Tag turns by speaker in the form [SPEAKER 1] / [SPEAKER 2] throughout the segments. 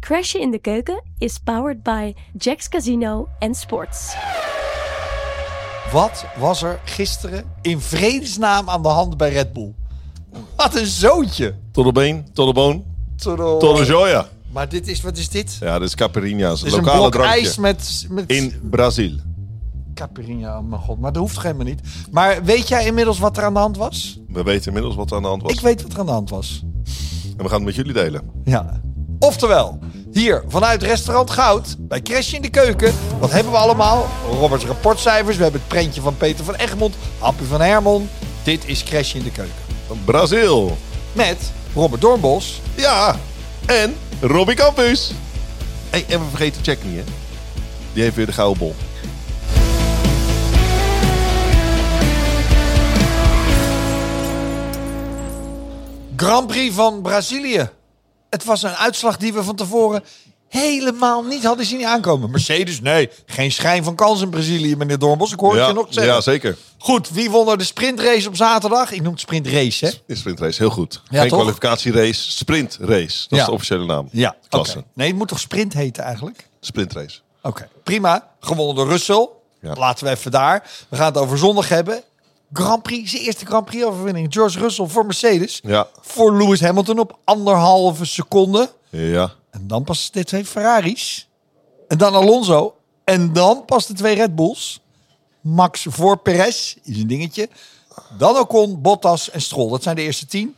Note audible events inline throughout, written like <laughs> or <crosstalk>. [SPEAKER 1] Crashen in de Keuken is powered by Jack's Casino en Sports.
[SPEAKER 2] Wat was er gisteren in vredesnaam aan de hand bij Red Bull? Wat een zootje.
[SPEAKER 3] Tot de been, tot de boon,
[SPEAKER 2] Toedoe.
[SPEAKER 3] tot de joya.
[SPEAKER 2] Maar dit is, wat is dit?
[SPEAKER 3] Ja, dit is Caipirinha's,
[SPEAKER 2] Dit is een
[SPEAKER 3] lokale
[SPEAKER 2] blok
[SPEAKER 3] drankje.
[SPEAKER 2] ijs met, met
[SPEAKER 3] In Brazil.
[SPEAKER 2] Caipirinha, oh mijn god. Maar dat hoeft toch helemaal niet. Maar weet jij inmiddels wat er aan de hand was?
[SPEAKER 3] We weten inmiddels wat er aan de hand was.
[SPEAKER 2] Ik weet wat er aan de hand was.
[SPEAKER 3] En we gaan het met jullie delen.
[SPEAKER 2] Ja. Oftewel, hier vanuit restaurant Goud, bij Crash in de Keuken. Wat hebben we allemaal? Roberts rapportcijfers, we hebben het prentje van Peter van Egmond, Happy van Hermon. Dit is Crash in de Keuken.
[SPEAKER 3] Brazil.
[SPEAKER 2] Met Robert Doornbos.
[SPEAKER 3] Ja. En Robbie Campus. Hey, en we vergeten Jack niet, hè? Die heeft weer de gouden bol.
[SPEAKER 2] Grand Prix van Brazilië. Het was een uitslag die we van tevoren helemaal niet hadden zien aankomen. Mercedes, nee, geen schijn van kans in Brazilië, meneer Doornbos. Ik hoor het
[SPEAKER 3] ja,
[SPEAKER 2] je nog zeggen.
[SPEAKER 3] Ja, zeker.
[SPEAKER 2] Goed, wie won er de sprintrace op zaterdag? Ik noem het sprintrace, hè?
[SPEAKER 3] Is sprintrace, heel goed.
[SPEAKER 2] Ja,
[SPEAKER 3] Geen
[SPEAKER 2] toch?
[SPEAKER 3] kwalificatierace, sprintrace. Dat
[SPEAKER 2] Ja.
[SPEAKER 3] is de officiële naam.
[SPEAKER 2] oké.
[SPEAKER 3] Klasse.
[SPEAKER 2] Nee, het moet toch sprint heten eigenlijk?
[SPEAKER 3] Sprintrace.
[SPEAKER 2] Oké, prima. Gewonnen door Russell.
[SPEAKER 3] Ja.
[SPEAKER 2] Laten we even daar. We gaan het over zondag hebben. Grand Prix, zijn eerste Grand Prix overwinning. George Russell voor Mercedes.
[SPEAKER 3] Ja.
[SPEAKER 2] Voor Lewis Hamilton op anderhalve seconde.
[SPEAKER 3] Ja.
[SPEAKER 2] En dan pas de twee Ferraris. En dan Alonso. En dan pas de twee Red Bulls. Max voor Perez, is een dingetje. Dan Ocon, Bottas en Stroll. Dat zijn de eerste tien.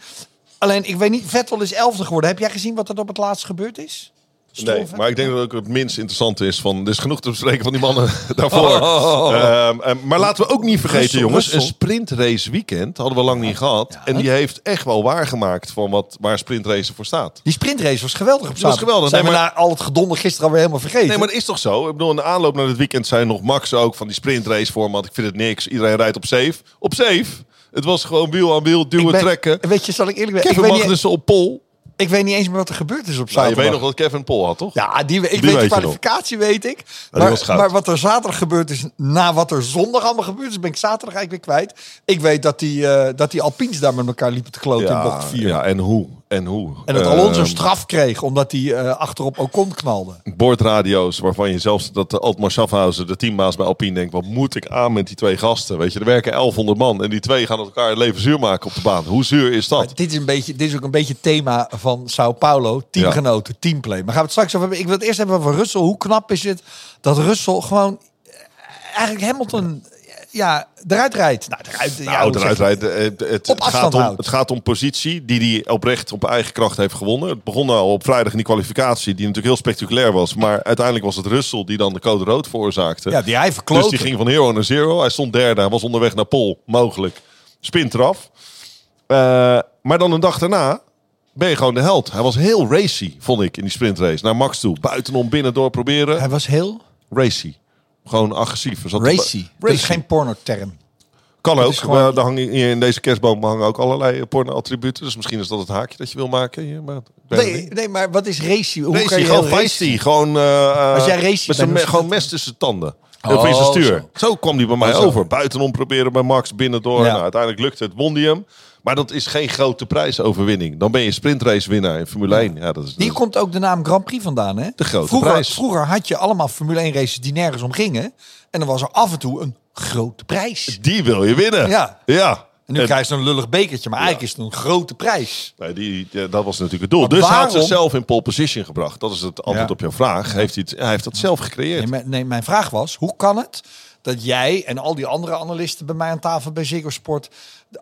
[SPEAKER 2] Alleen, ik weet niet, Vettel is elfde geworden. Heb jij gezien wat er op het laatst gebeurd is? Stroll,
[SPEAKER 3] Nee,
[SPEAKER 2] Vettel?
[SPEAKER 3] maar ik denk dat ook het minst interessante is van. Er is genoeg te bespreken van die mannen <laughs> daarvoor.
[SPEAKER 2] Oh,
[SPEAKER 3] Ehm, ehm, maar laten we ook niet vergeten,
[SPEAKER 2] Russell,
[SPEAKER 3] jongens.
[SPEAKER 2] Russell.
[SPEAKER 3] Een sprintrace weekend hadden we lang niet gehad. En die heeft echt wel waargemaakt van wat, waar sprintrace voor staat.
[SPEAKER 2] Die sprintrace was geweldig op
[SPEAKER 3] was
[SPEAKER 2] zaterdag.
[SPEAKER 3] geweldig.
[SPEAKER 2] Zijn
[SPEAKER 3] Nee,
[SPEAKER 2] we
[SPEAKER 3] maar-
[SPEAKER 2] na al het gedonder gisteren alweer helemaal vergeten?
[SPEAKER 3] Nee, maar dat is toch zo? Ik bedoel, in de aanloop naar het weekend zei nog Max ook van die sprintrace format. Ik vind het niks. Iedereen rijdt op safe. Op safe. Het was gewoon wiel aan wiel,
[SPEAKER 2] Ik
[SPEAKER 3] duwen,
[SPEAKER 2] ben-
[SPEAKER 3] trekken.
[SPEAKER 2] Weet je, zal ik eerlijk zijn? Ik
[SPEAKER 3] Kevin
[SPEAKER 2] weet, niet,
[SPEAKER 3] Magnussen op pol.
[SPEAKER 2] ik weet niet eens meer wat er gebeurd is op
[SPEAKER 3] Nou, je
[SPEAKER 2] zaterdag.
[SPEAKER 3] weet nog wat Kevin Pol had, toch?
[SPEAKER 2] Ja, die, ik
[SPEAKER 3] weet
[SPEAKER 2] weet de
[SPEAKER 3] je
[SPEAKER 2] kwalificatie, weet ik.
[SPEAKER 3] die
[SPEAKER 2] Maar,
[SPEAKER 3] was goud.
[SPEAKER 2] maar wat er zaterdag gebeurd is, na wat er zondag allemaal gebeurd is, ben ik zaterdag eigenlijk weer kwijt. Ik weet dat die, eh, dat die Alpines daar met elkaar liepen te kloten in bocht 4.
[SPEAKER 3] ja, en hoe? En hoe?
[SPEAKER 2] En dat
[SPEAKER 3] Ehm,
[SPEAKER 2] Alonso straf kreeg, omdat hij eh, achterop Ocon knalde.
[SPEAKER 3] boordradio's waarvan je zelfs dat de Altmar Schaffhausen, de teambaas bij Alpine, denkt: wat moet ik aan met die twee gasten? Weet je, er werken 1100 man en die twee gaan elkaar het leven zuur maken op de baan. Hoe zuur is dat?
[SPEAKER 2] Maar dit, is een beetje, dit is ook een beetje het thema van Sao Paulo. Teamgenoten, teamplay. Maar gaan we het straks over hebben. Ik wil het eerst hebben over Russell. Hoe knap is het dat Russell gewoon eh, eigenlijk Hamilton eh, ja, eruit rijdt. Nou, eruit, ja,
[SPEAKER 3] Nou,
[SPEAKER 2] hoe
[SPEAKER 3] eruit
[SPEAKER 2] zeg je?
[SPEAKER 3] rijdt, eh, Het, het,
[SPEAKER 2] Op
[SPEAKER 3] het
[SPEAKER 2] afstand
[SPEAKER 3] gaat om,
[SPEAKER 2] houdt.
[SPEAKER 3] het gaat om positie die hij oprecht op eigen kracht heeft gewonnen. Het begon al op vrijdag in die kwalificatie, die natuurlijk heel spectaculair was. Maar uiteindelijk was het Russell die dan de code rood veroorzaakte.
[SPEAKER 2] Ja, die hij
[SPEAKER 3] Dus
[SPEAKER 2] verkloot.
[SPEAKER 3] die ging van hero naar zero. Hij stond derde. Hij was onderweg naar Pol. Mogelijk. Spint eraf. Eh, maar dan een dag daarna ben je gewoon de held. Hij was heel racy, vond ik, in die sprintrace. Naar Max toe. Buitenom, binnen door proberen.
[SPEAKER 2] Hij was heel
[SPEAKER 3] Racy. Gewoon agressief. Er zat-
[SPEAKER 2] racy. Dat is
[SPEAKER 3] Racy.
[SPEAKER 2] geen pornoterm.
[SPEAKER 3] Kan ook.
[SPEAKER 2] is gewoon-
[SPEAKER 3] Eh, daar hangen hier in deze kerstboom hangen ook allerlei eh, porno-attributen. Dus misschien is dat het haakje dat je wil maken. hier, maar ik weet het
[SPEAKER 2] Nee,
[SPEAKER 3] niet.
[SPEAKER 2] nee, maar wat is racy? Hoe
[SPEAKER 3] Racy,
[SPEAKER 2] kan je
[SPEAKER 3] gewoon
[SPEAKER 2] heel racy-
[SPEAKER 3] feisty. Gewoon, eh,
[SPEAKER 2] Als jij
[SPEAKER 3] eh,
[SPEAKER 2] racy
[SPEAKER 3] met
[SPEAKER 2] bent,
[SPEAKER 3] zijn
[SPEAKER 2] hoe
[SPEAKER 3] me-
[SPEAKER 2] zit
[SPEAKER 3] gewoon
[SPEAKER 2] dat?
[SPEAKER 3] mes tussen tanden. of in zijn
[SPEAKER 2] Oh,
[SPEAKER 3] stuur.
[SPEAKER 2] zo.
[SPEAKER 3] Zo. kwam die bij mij
[SPEAKER 2] Oh, zo.
[SPEAKER 3] over. Buitenom proberen bij Max, binnendoor.
[SPEAKER 2] Ja.
[SPEAKER 3] Nou, uiteindelijk lukte het, won die hem. Maar dat is geen grote prijsoverwinning. Dan ben je sprintrace winnaar in Formule 1. Ja, dat is,
[SPEAKER 2] Hier komt ook de naam Grand Prix vandaan, hè?
[SPEAKER 3] De grote
[SPEAKER 2] vroeger,
[SPEAKER 3] prijs.
[SPEAKER 2] Vroeger had je allemaal Formule 1 races die nergens om gingen. En dan was er af en toe een grote prijs.
[SPEAKER 3] Die wil je winnen.
[SPEAKER 2] Ja.
[SPEAKER 3] ja.
[SPEAKER 2] En nu
[SPEAKER 3] En-
[SPEAKER 2] krijg je zo'n lullig bekertje, maar eigenlijk is het een grote prijs.
[SPEAKER 3] Nee, die, die- dat was natuurlijk het doel. dus hij had
[SPEAKER 2] waarom-
[SPEAKER 3] zichzelf in pole position gebracht. Dat is het antwoord
[SPEAKER 2] Ja.
[SPEAKER 3] op jouw vraag. Heeft hij, het- hij heeft dat zelf gecreëerd.
[SPEAKER 2] Nee, mijn, nee, mijn vraag was, hoe kan het dat jij en al die andere analisten bij mij aan tafel bij Ziggo Sport